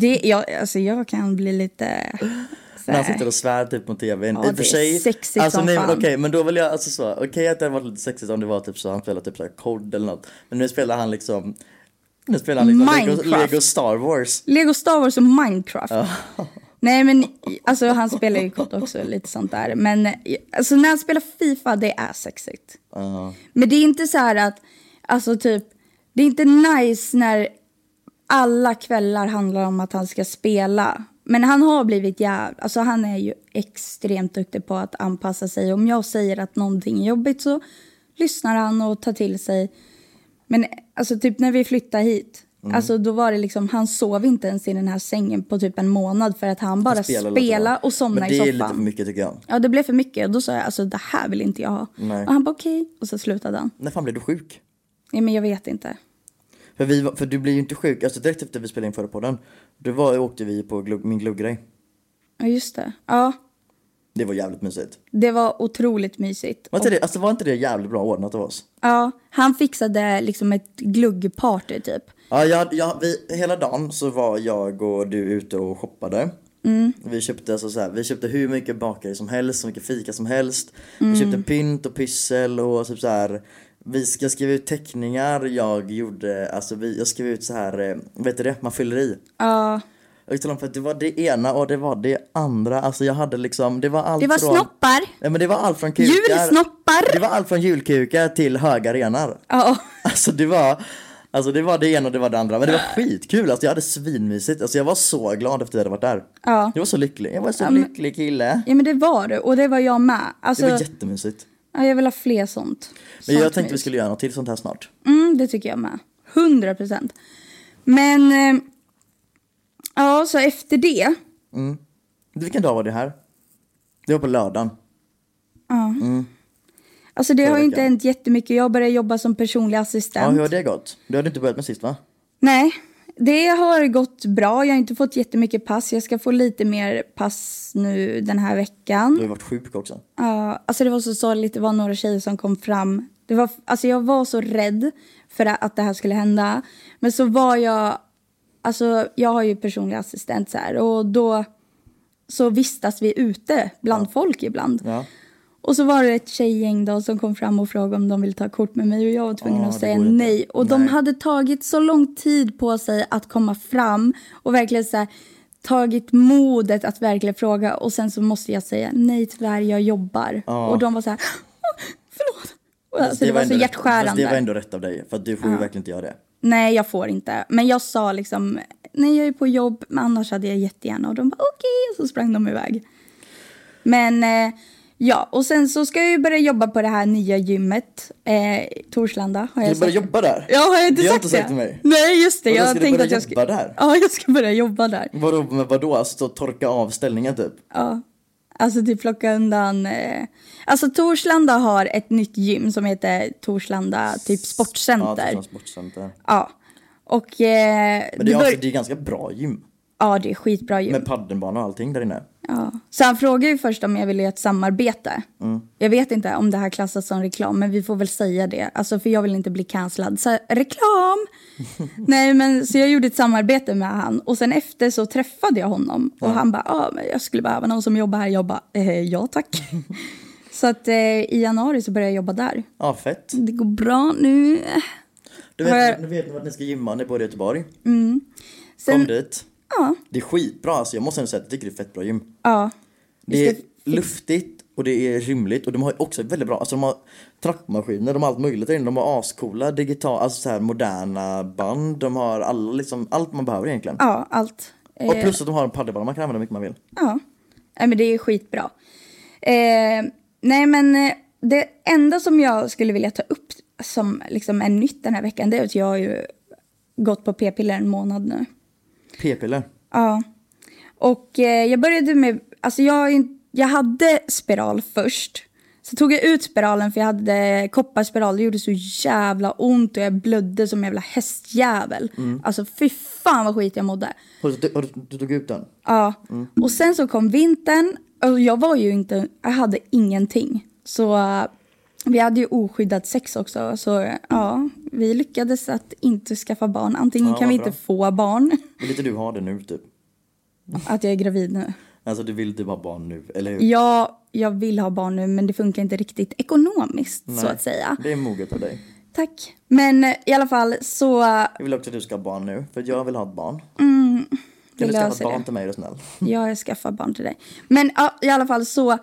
Speaker 1: Det, jag, alltså jag kan bli lite... Så
Speaker 2: När han
Speaker 1: här,
Speaker 2: sitter och svär typ mot tvn.
Speaker 1: Ja,
Speaker 2: I och
Speaker 1: det
Speaker 2: för
Speaker 1: är
Speaker 2: sig.
Speaker 1: sexigt
Speaker 2: alltså,
Speaker 1: som
Speaker 2: nej,
Speaker 1: fan.
Speaker 2: Okej men då vill jag alltså så. Okej att det hade varit lite sexigt om det var typ så han spelar typ så här kod eller något. Men nu spelar han liksom. Nu spelar han liksom Lego,
Speaker 1: Minecraft.
Speaker 2: Lego Star Wars.
Speaker 1: Lego Star Wars och Minecraft. Nej men alltså han spelar ju kort också lite sånt där. Men alltså när han spelar Fifa det är sexigt.
Speaker 2: Ja.
Speaker 1: Men det är inte så här att, alltså typ, det är inte nice när alla kvällar handlar om att han ska spela. Men han har blivit jävla, alltså han är ju extremt duktig på att anpassa sig. Om jag säger att någonting är jobbigt så lyssnar han och tar till sig. Men alltså typ när vi flyttade hit,
Speaker 2: Mm.
Speaker 1: alltså då var det liksom, han sov inte ens i den här sängen på typ en månad för att han bara
Speaker 2: spelar
Speaker 1: spelade
Speaker 2: lite grann.
Speaker 1: och somnade
Speaker 2: Men det
Speaker 1: i
Speaker 2: är
Speaker 1: soffan.
Speaker 2: lite för mycket tycker jag.
Speaker 1: Ja, det blev för mycket. Och då sa jag alltså det här vill inte jag ha.
Speaker 2: Nej.
Speaker 1: Och han bara okej. Och så slutade han.
Speaker 2: När fan blev du sjuk?
Speaker 1: Nej, men jag vet inte.
Speaker 2: För, vi, var- för du blir ju inte sjuk. Alltså direkt efter vi spelade in förra podden. Då var, åkte vi på glugg, min glugggrej.
Speaker 1: Ja, just det. Ja,
Speaker 2: Det var jävligt mysigt.
Speaker 1: det var otroligt mysigt.
Speaker 2: Var inte, det, alltså, var inte det jävligt bra ordnat av oss?
Speaker 1: Ja, han fixade liksom ett gluggparty typ.
Speaker 2: Ja, jag, jag, vi, hela dagen så var jag och du ute och shoppade.
Speaker 1: Mm.
Speaker 2: Vi, köpte alltså så här, vi köpte hur mycket bakare som helst, så mycket fika som helst.
Speaker 1: Mm.
Speaker 2: Vi köpte pynt och pyssel och typ så här. Vi ska skriva ut teckningar, jag gjorde, alltså vi, jag skrev ut så här, eh, vet du det, man fyller i.
Speaker 1: Ja,
Speaker 2: Jag talade om för att det var det ena och det var det andra, alltså jag hade liksom, det var allt
Speaker 1: det var
Speaker 2: från...
Speaker 1: snoppar.
Speaker 2: Nej men det var allt från kukar. Det
Speaker 1: Djursnoppar.
Speaker 2: var allt från julkukar till höga renar.
Speaker 1: Ja,
Speaker 2: Alltså det var Alltså det var det ena och det var det andra men det var skitkul, alltså jag hade svinmysigt, alltså jag var så glad efter att jag hade varit där.
Speaker 1: Ja.
Speaker 2: Jag var så lycklig, jag var så lycklig kille.
Speaker 1: ja men det var det. Och det var jag med.
Speaker 2: Det
Speaker 1: Alltså,
Speaker 2: var jättemysigt.
Speaker 1: ja, jag vill ha fler sånt.
Speaker 2: Men jag
Speaker 1: Sånt
Speaker 2: tänkte vi
Speaker 1: mys.
Speaker 2: skulle göra något till sånt här snart.
Speaker 1: Mm, det tycker jag med. 100 procent. Men... eh, Ja, så efter det.
Speaker 2: Vilken dag var det här? Det var på lördagen.
Speaker 1: Alltså det
Speaker 2: Förra
Speaker 1: har ju inte
Speaker 2: veckan.
Speaker 1: hänt jättemycket. Jag började jobba som personlig
Speaker 2: Ja,
Speaker 1: assistent.
Speaker 2: hur har det gått? Du hade inte börjat med sist va?
Speaker 1: Nej, det har gått bra. Jag har inte fått jättemycket pass. Jag ska få lite mer pass nu den här
Speaker 2: Du har
Speaker 1: veckan.
Speaker 2: ju varit sjuk också.
Speaker 1: Ja, alltså det var så sorgligt. Det var några tjejer som kom fram. Det var, alltså jag var så rädd för att det här skulle hända. Men så var jag alltså jag har ju personlig assistent så här och då så vistas vi ute bland folk ibland.
Speaker 2: Ja.
Speaker 1: Och så var det ett tjejgäng då som kom fram och frågade om de ville ta kort med mig och jag var tvungen
Speaker 2: Ja,
Speaker 1: att
Speaker 2: det
Speaker 1: säga
Speaker 2: går inte.
Speaker 1: nej. Och de
Speaker 2: Nej.
Speaker 1: hade tagit så lång tid på sig att komma fram och verkligen så här, tagit modet att verkligen fråga och sen så måste jag säga nej tyvärr jag jobbar.
Speaker 2: Ja.
Speaker 1: och de var så här förlåt. Och
Speaker 2: Fast
Speaker 1: alltså, det, var,
Speaker 2: ändå
Speaker 1: så
Speaker 2: rätt- fast
Speaker 1: hjärtskärande.
Speaker 2: det var ändå rätt av dig, för att du får ju verkligen inte göra det.
Speaker 1: Nej jag får inte. Men jag sa liksom nej jag är på jobb men annars hade jag jättegärna och de bara okej och så sprang de iväg. Men eh, ja, och sen så ska jag ju börja jobba på det här nya gymmet. Eh, Torslanda har jag
Speaker 2: Ska du börja
Speaker 1: sagt.
Speaker 2: jobba där?
Speaker 1: Ja, har jag inte
Speaker 2: Det har
Speaker 1: sagt
Speaker 2: inte sagt
Speaker 1: det?
Speaker 2: till mig.
Speaker 1: Nej, just det.
Speaker 2: Vadå, ska
Speaker 1: Jag
Speaker 2: du
Speaker 1: tänkte
Speaker 2: börja
Speaker 1: att jag ska...
Speaker 2: jobba där?
Speaker 1: Ja, jag ska börja jobba där.
Speaker 2: Vadå, men vadå? Alltså torka av ställningen typ?
Speaker 1: Ja. Alltså typ plocka undan... Eh... Alltså Torslanda har ett nytt gym som heter Torslanda typ
Speaker 2: Ja,
Speaker 1: sportcenter.
Speaker 2: typ
Speaker 1: Ja.
Speaker 2: som sportcenter.
Speaker 1: Och... Eh,
Speaker 2: Men det är,
Speaker 1: bör-
Speaker 2: alltså, det är ganska bra gym.
Speaker 1: Ja, det är skitbra gym.
Speaker 2: Med paddelbana och allting där inne.
Speaker 1: Ja. Så han frågade ju först om jag ville göra ett samarbete.
Speaker 2: Mm.
Speaker 1: Jag vet inte om det här klassas som reklam, men vi får väl säga det. Alltså, för jag vill inte bli cancellad. Så, reklam! Nej, men så jag gjorde ett samarbete med han. Och sen efter så träffade jag honom. Och han bara, ah, men jag skulle behöva någon som jobbar här. Jag bara, eh, ja tack. så att eh, i januari så börjar jag jobba där.
Speaker 2: Ja, fett.
Speaker 1: Det går bra nu.
Speaker 2: Du
Speaker 1: Har
Speaker 2: vet,
Speaker 1: jag-
Speaker 2: du vet vart ni ska gymma, ni bor i Göteborg. Kom
Speaker 1: Sen,
Speaker 2: dit.
Speaker 1: ja,
Speaker 2: Det är skitbra, alltså jag måste ändå säga att jag tycker det är ett fett bra gym.
Speaker 1: ja,
Speaker 2: Det är
Speaker 1: ska-
Speaker 2: luftigt och det är rymligt och de har också väldigt bra, alltså de har trappmaskiner, de har allt möjligt där inne. De har ascoola digital, alltså så här moderna band, de har alla, liksom, allt man behöver egentligen.
Speaker 1: ja, eh. allt.
Speaker 2: Och plus att de har en padelbana man kan använda hur mycket man vill.
Speaker 1: Ja, Nej, men det är skitbra. Eh, nej, men eh, det enda som jag skulle vilja ta upp som liksom är nytt den här veckan det är att jag har ju gått på p-piller en månad nu.
Speaker 2: P-piller.
Speaker 1: Ja. Och eh, jag började med... Alltså jag, har ju- jag hade spiral först. Så tog jag ut spiralen för jag hade kopparspiral. Det gjorde så jävla ont och jag blödde som en jävla hästjävel. Alltså fy fan vad skit jag mådde.
Speaker 2: Har du, har du, du tog ut den?
Speaker 1: Ja.
Speaker 2: Mm.
Speaker 1: Och sen så kom vintern. Och jag var ju inte, jag hade ingenting. Så eh, vi hade ju oskyddat sex också. Så eh, ja, vi lyckades att inte skaffa barn. Antingen
Speaker 2: Ja,
Speaker 1: kan vi
Speaker 2: vad
Speaker 1: inte
Speaker 2: bra.
Speaker 1: få barn.
Speaker 2: Vill inte du ha det nu typ?
Speaker 1: Att jag är gravid nu.
Speaker 2: Alltså du vill typ ha barn nu, eller hur?
Speaker 1: Ja, jag vill ha barn nu men det funkar inte riktigt ekonomiskt så
Speaker 2: Nej,
Speaker 1: att säga.
Speaker 2: Det är moget av dig.
Speaker 1: Tack. Men eh, i alla fall så eh,
Speaker 2: Jag vill också att du ska ha barn nu, för jag vill ha ett barn. kan
Speaker 1: det
Speaker 2: du skaffa ett
Speaker 1: löser
Speaker 2: barn
Speaker 1: det.
Speaker 2: till mig är du snäll?
Speaker 1: Ja, jag skaffar barn till dig. Men ja, i alla fall så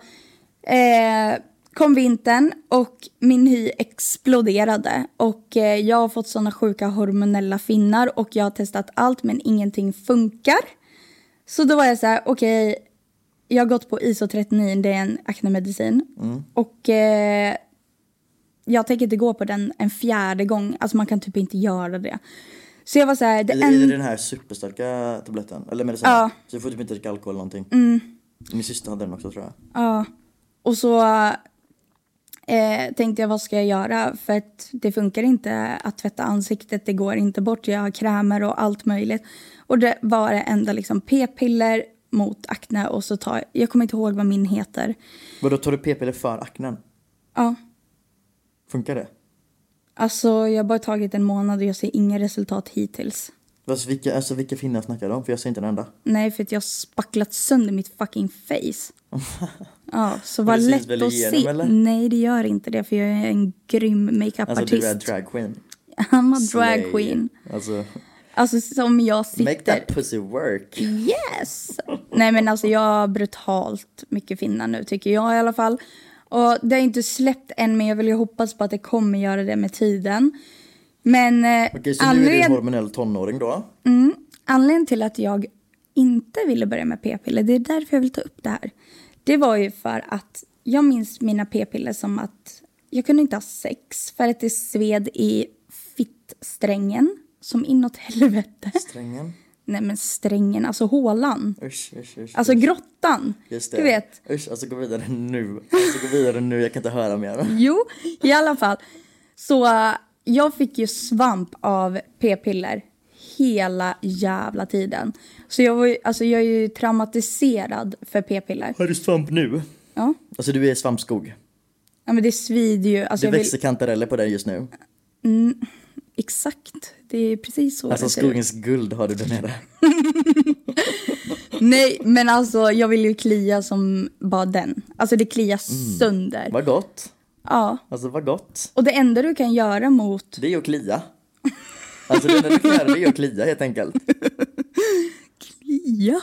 Speaker 1: eh, kom vintern och min hy exploderade. Och eh, jag har fått såna sjuka hormonella finnar och jag har testat allt men ingenting funkar. Så då var jag så här, okej, jag har gått på ISO39, det är en aknemedicin.
Speaker 2: Mm.
Speaker 1: Och eh, jag tänker inte gå på den en fjärde gång, alltså man kan typ inte göra det. Så jag var så här, det
Speaker 2: Är,
Speaker 1: en-
Speaker 2: är det den här superstarka tabletten? Eller medicinen?
Speaker 1: Ja. Mm.
Speaker 2: Så du får typ inte dricka alkohol eller någonting? Min syster hade den också tror jag.
Speaker 1: Ja. Och så eh, tänkte jag, vad ska jag göra? För att det funkar inte att tvätta ansiktet. Det går inte bort. Jag har krämer och allt möjligt. Och det var det enda liksom p-piller mot akne och så tar jag, jag kommer inte ihåg vad min heter.
Speaker 2: Vadå, tar du p-piller för aknen?
Speaker 1: Ja,
Speaker 2: Funkar det?
Speaker 1: alltså jag har bara tagit en månad och jag ser inga resultat hittills.
Speaker 2: Alltså vilka, alltså, vilka finnar snackar de? För jag ser inte en enda.
Speaker 1: Nej, för att jag har spacklat sönder mitt fucking face. Ja, så var
Speaker 2: det syns
Speaker 1: lätt
Speaker 2: väl
Speaker 1: att
Speaker 2: igenom,
Speaker 1: se.
Speaker 2: eller?
Speaker 1: Nej, det gör inte det för jag är en grym
Speaker 2: Alltså
Speaker 1: makeupartist.
Speaker 2: du är drag queen.
Speaker 1: I'm a
Speaker 2: Slay.
Speaker 1: drag queen.
Speaker 2: Alltså,
Speaker 1: Alltså som jag
Speaker 2: make
Speaker 1: sitter.
Speaker 2: that pussy work.
Speaker 1: Yes! Nej men alltså jag har brutalt mycket finnar nu tycker jag i alla fall. Och det har inte släppt än men jag vill ju hoppas på att det kommer göra det med tiden. Men eh,
Speaker 2: Okej, så nu är du en
Speaker 1: anled-
Speaker 2: hormonell tonåring då?
Speaker 1: mm, anledningen till att jag inte ville börja med p-piller, det är därför jag vill ta upp det här. Det var ju för att jag minns mina p-piller som att jag kunde inte ha sex för att det sved i fittsträngen som inåt helvete.
Speaker 2: Strängen?
Speaker 1: Nej men strängen, alltså hålan.
Speaker 2: Usch, usch, usch.
Speaker 1: Alltså grottan.
Speaker 2: Just det.
Speaker 1: Du vet.
Speaker 2: Usch, alltså gå vidare nu. Alltså gå vidare nu, jag kan inte höra mer.
Speaker 1: Jo, i alla fall. Så äh, jag fick ju svamp av p-piller hela jävla tiden. Så jag, var ju, alltså, jag är ju traumatiserad för p-piller.
Speaker 2: Har du svamp nu?
Speaker 1: Ja.
Speaker 2: Alltså du är svampskog.
Speaker 1: ja, men det svider ju. Alltså,
Speaker 2: Det
Speaker 1: jag
Speaker 2: växer
Speaker 1: vill,
Speaker 2: kantareller på dig just nu.
Speaker 1: Exakt, det är precis så
Speaker 2: Alltså
Speaker 1: det ser ut.
Speaker 2: skogens guld har du där nere.
Speaker 1: Nej, men alltså jag vill ju klia som bara den. Alltså det kliar
Speaker 2: Mm.
Speaker 1: sönder.
Speaker 2: Vad gott.
Speaker 1: Ja,
Speaker 2: Alltså vad gott.
Speaker 1: och det enda du kan göra mot
Speaker 2: Det är att klia. Alltså det enda du kan göra det är att klia helt enkelt.
Speaker 1: klia?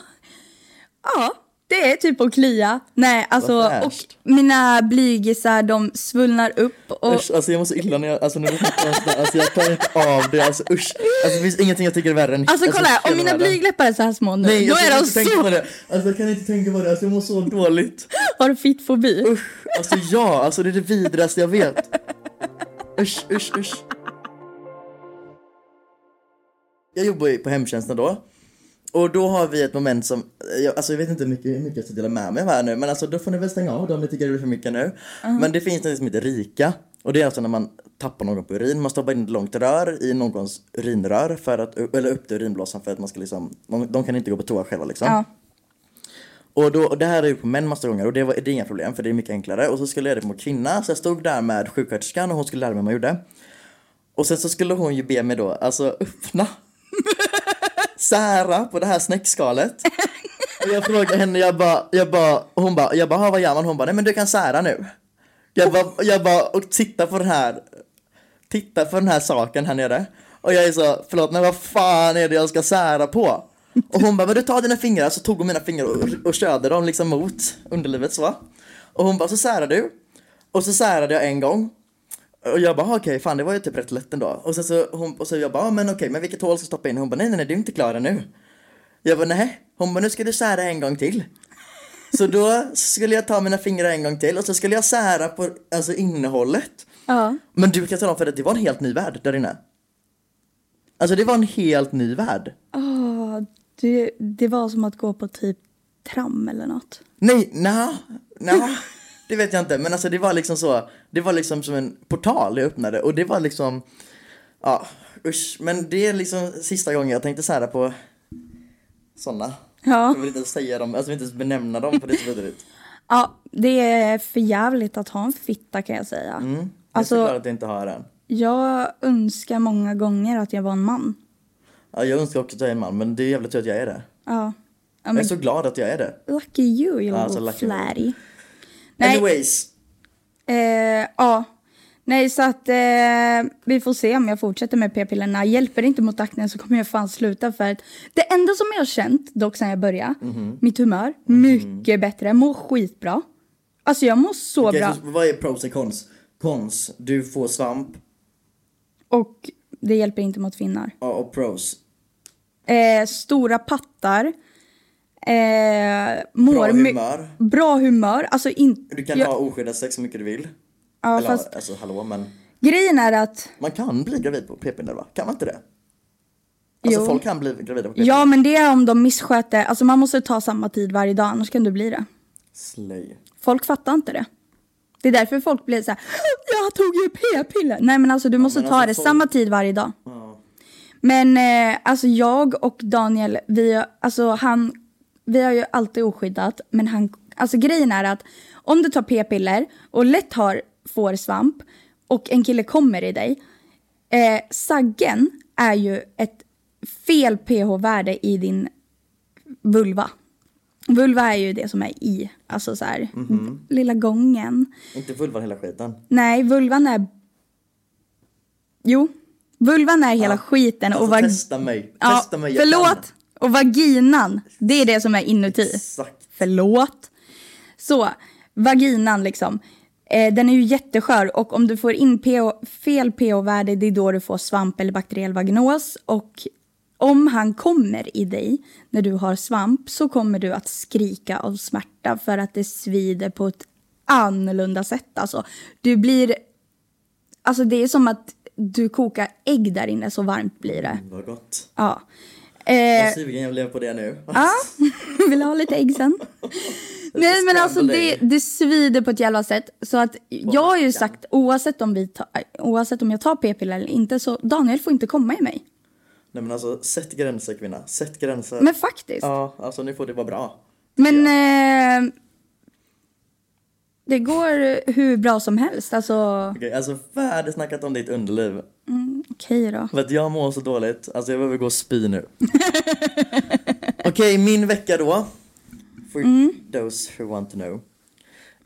Speaker 1: Ja, det är typ att klia. Nej, alltså
Speaker 2: Vad
Speaker 1: och
Speaker 2: fräscht.
Speaker 1: mina blygisar de svullnar upp och
Speaker 2: Usch, alltså jag mår så illa när jag, alltså när du pratar om sådär, alltså jag klarar inte av det, alltså usch. Alltså det finns ingenting jag tycker är värre än
Speaker 1: Alltså kolla, här,
Speaker 2: hela
Speaker 1: om mina
Speaker 2: världen.
Speaker 1: blygdläppar är så här små nu,
Speaker 2: Nej,
Speaker 1: då
Speaker 2: jag kan
Speaker 1: är de
Speaker 2: inte tänka
Speaker 1: så...
Speaker 2: på det. Alltså jag kan inte tänka på det, alltså jag mår så dåligt.
Speaker 1: Har du fittfobi?
Speaker 2: Usch, alltså ja, alltså det är det vidraste jag vet. Usch, usch, usch. Jag jobbar ju på hemtjänsten då. Och då har vi ett moment som, jag, alltså jag vet inte hur mycket, hur mycket jag ska dela med mig av här nu men alltså då får ni väl stänga av det om ni tycker det blir för mycket nu. Men det finns något som heter rika. Och det är alltså när man tappar någon på urin, man stoppar in ett långt rör i någons urinrör för att, eller upp till urinblåsan för att man ska liksom, de, de kan inte gå på toa själva liksom.
Speaker 1: Ja.
Speaker 2: Och, då, och det här har jag gjort på män massa gånger och det, var, det är inga problem för det är mycket enklare. Och så skulle jag göra det på en kvinna så jag stod där med sjuksköterskan och hon skulle lära mig hur man gjorde. Och sen så skulle hon ju be mig då, alltså öppna, sära på det här snäckskalet. Och jag frågade henne, jag bara, jag bara, hon bara, jag bara, "Ha, vad gör man? Hon bara, nej men du kan sära nu. Jag bara, jag bara, och titta på den här, titta på den här saken här nere. Och jag är så, förlåt men vad fan är det jag ska sära på? Och hon bara, men du tar dina fingrar, så tog hon mina fingrar och, och körde dem liksom mot underlivet så. Och hon bara, så särar du. Och så särade jag en gång. Och jag bara, "Ah, okej, fan det var ju typ rätt lätt ändå. Och sen så, hon, och så jag bara, "Ah, men okej, men vilket hål ska jag stoppa in? Hon bara, nej nej nej, du är inte klar ännu. Jag bara, nej. Hon bara, nu ska du sära en gång till. Så då skulle jag ta mina fingrar en gång till och så skulle jag sära på alltså, innehållet.
Speaker 1: Ja.
Speaker 2: Men du kan tala om för dig att det var en helt ny värld där inne. Alltså det var en helt ny värld.
Speaker 1: Åh, det, det var som att gå på typ tram eller något.
Speaker 2: Nej, nja, nja. Det vet jag inte, men alltså det var liksom så. Det var liksom som en portal jag öppnade och det var liksom, ja usch. Men det är liksom sista gången jag tänkte sära på sådana.
Speaker 1: Ja.
Speaker 2: Jag vill inte ens säga dem, alltså jag vill inte ens benämna dem för det är så vidrigt.
Speaker 1: ja, det är för jävligt att ha en fitta kan jag säga.
Speaker 2: Jag Mm, är så
Speaker 1: Alltså,
Speaker 2: glad att jag inte har den.
Speaker 1: jag önskar många gånger att jag var en man.
Speaker 2: Ja, jag önskar också att jag är en man, men det är jävligt tur att jag är det.
Speaker 1: Ja. ja
Speaker 2: Jag är
Speaker 1: men,
Speaker 2: så glad att jag är det.
Speaker 1: Lucky you, you
Speaker 2: Ja, alltså,
Speaker 1: little
Speaker 2: lucky you.
Speaker 1: flatty.
Speaker 2: Anyways.
Speaker 1: Eh, ja. Nej, så att eh, vi får se om jag fortsätter med p-pillerna. Hjälper det inte mot aknen så kommer jag fan sluta. För att det enda som jag har känt dock sen jag började,
Speaker 2: Mhm.
Speaker 1: mitt humör, mycket bättre. Mår skitbra. Alltså jag mår så
Speaker 2: Okej,
Speaker 1: bra.
Speaker 2: så vad är pros och cons? Cons, du får svamp
Speaker 1: Och det hjälper inte mot finnar.
Speaker 2: ja, och pros.
Speaker 1: Eh, stora pattar. Eh, mår
Speaker 2: Bra
Speaker 1: my-
Speaker 2: humör.
Speaker 1: Bra humör. Alltså in-
Speaker 2: Du kan
Speaker 1: jag-
Speaker 2: ha oskyddat sex så mycket du vill.
Speaker 1: Ja,
Speaker 2: Eller,
Speaker 1: fast-
Speaker 2: alltså hallå men.
Speaker 1: Grejen är att...
Speaker 2: Man kan bli gravid på p-piller va? Kan man inte det? Alltså
Speaker 1: Jo.
Speaker 2: folk kan bli gravida på p-piller.
Speaker 1: Ja, men det är om de missköter. Alltså man måste ta samma tid varje dag, annars kan du bli det.
Speaker 2: Slay.
Speaker 1: Folk fattar inte det. Det är därför folk blir så här, jag tog ju p-piller. Nej men alltså du måste
Speaker 2: men
Speaker 1: ta
Speaker 2: alltså,
Speaker 1: det
Speaker 2: folk-
Speaker 1: samma tid varje dag.
Speaker 2: Ja.
Speaker 1: Men eh, alltså jag och Daniel, vi, alltså han, vi har ju alltid oskyddat. Men han, alltså grejen är att om du tar p-piller och lätt har, får svamp och en kille kommer i dig. Eh, saggen är ju ett fel pH-värde i din vulva. Vulva är ju det som är i, alltså så här, lilla gången.
Speaker 2: Inte vulvan hela skiten.
Speaker 1: Nej, vulvan är... Jo, vulvan är hela skiten och
Speaker 2: Alltså
Speaker 1: vag...
Speaker 2: testa mig.
Speaker 1: ja,
Speaker 2: testa mig. jag kan.
Speaker 1: förlåt! Och vaginan, det är det som är inuti.
Speaker 2: Exakt.
Speaker 1: Förlåt. Så, vaginan liksom. Eh, den är ju jätteskör och om du får in PO, fel pH-värde det är då du får svamp eller bakteriell vaginos. Och om han kommer i dig när du har svamp så kommer du att skrika av smärta för att det svider på ett annorlunda sätt. Alltså, du blir... Alltså det är som att du kokar ägg där inne, så varmt blir det.
Speaker 2: Mm, Vad gott.
Speaker 1: Ja. Eh,
Speaker 2: Vad sugen jag blev på det nu.
Speaker 1: Ja, vill du ha lite ägg sen? Nej men alltså det, det svider på ett jävla sätt. Så att jag har ju sagt oavsett om, vi ta, oavsett om jag tar p-piller eller inte så Daniel får inte komma i mig.
Speaker 2: Nej men alltså sätt gränser kvinna. Sätt gränser.
Speaker 1: Men faktiskt.
Speaker 2: Ja, alltså nu får det vara bra.
Speaker 1: Men eh, Det går hur bra som helst. Alltså,
Speaker 2: Okej, alltså färdigt snackat om ditt underliv.
Speaker 1: mm, okej då.
Speaker 2: För att jag mår så dåligt. Alltså jag behöver gå och spy nu. Okej, min vecka då. For those who want to know.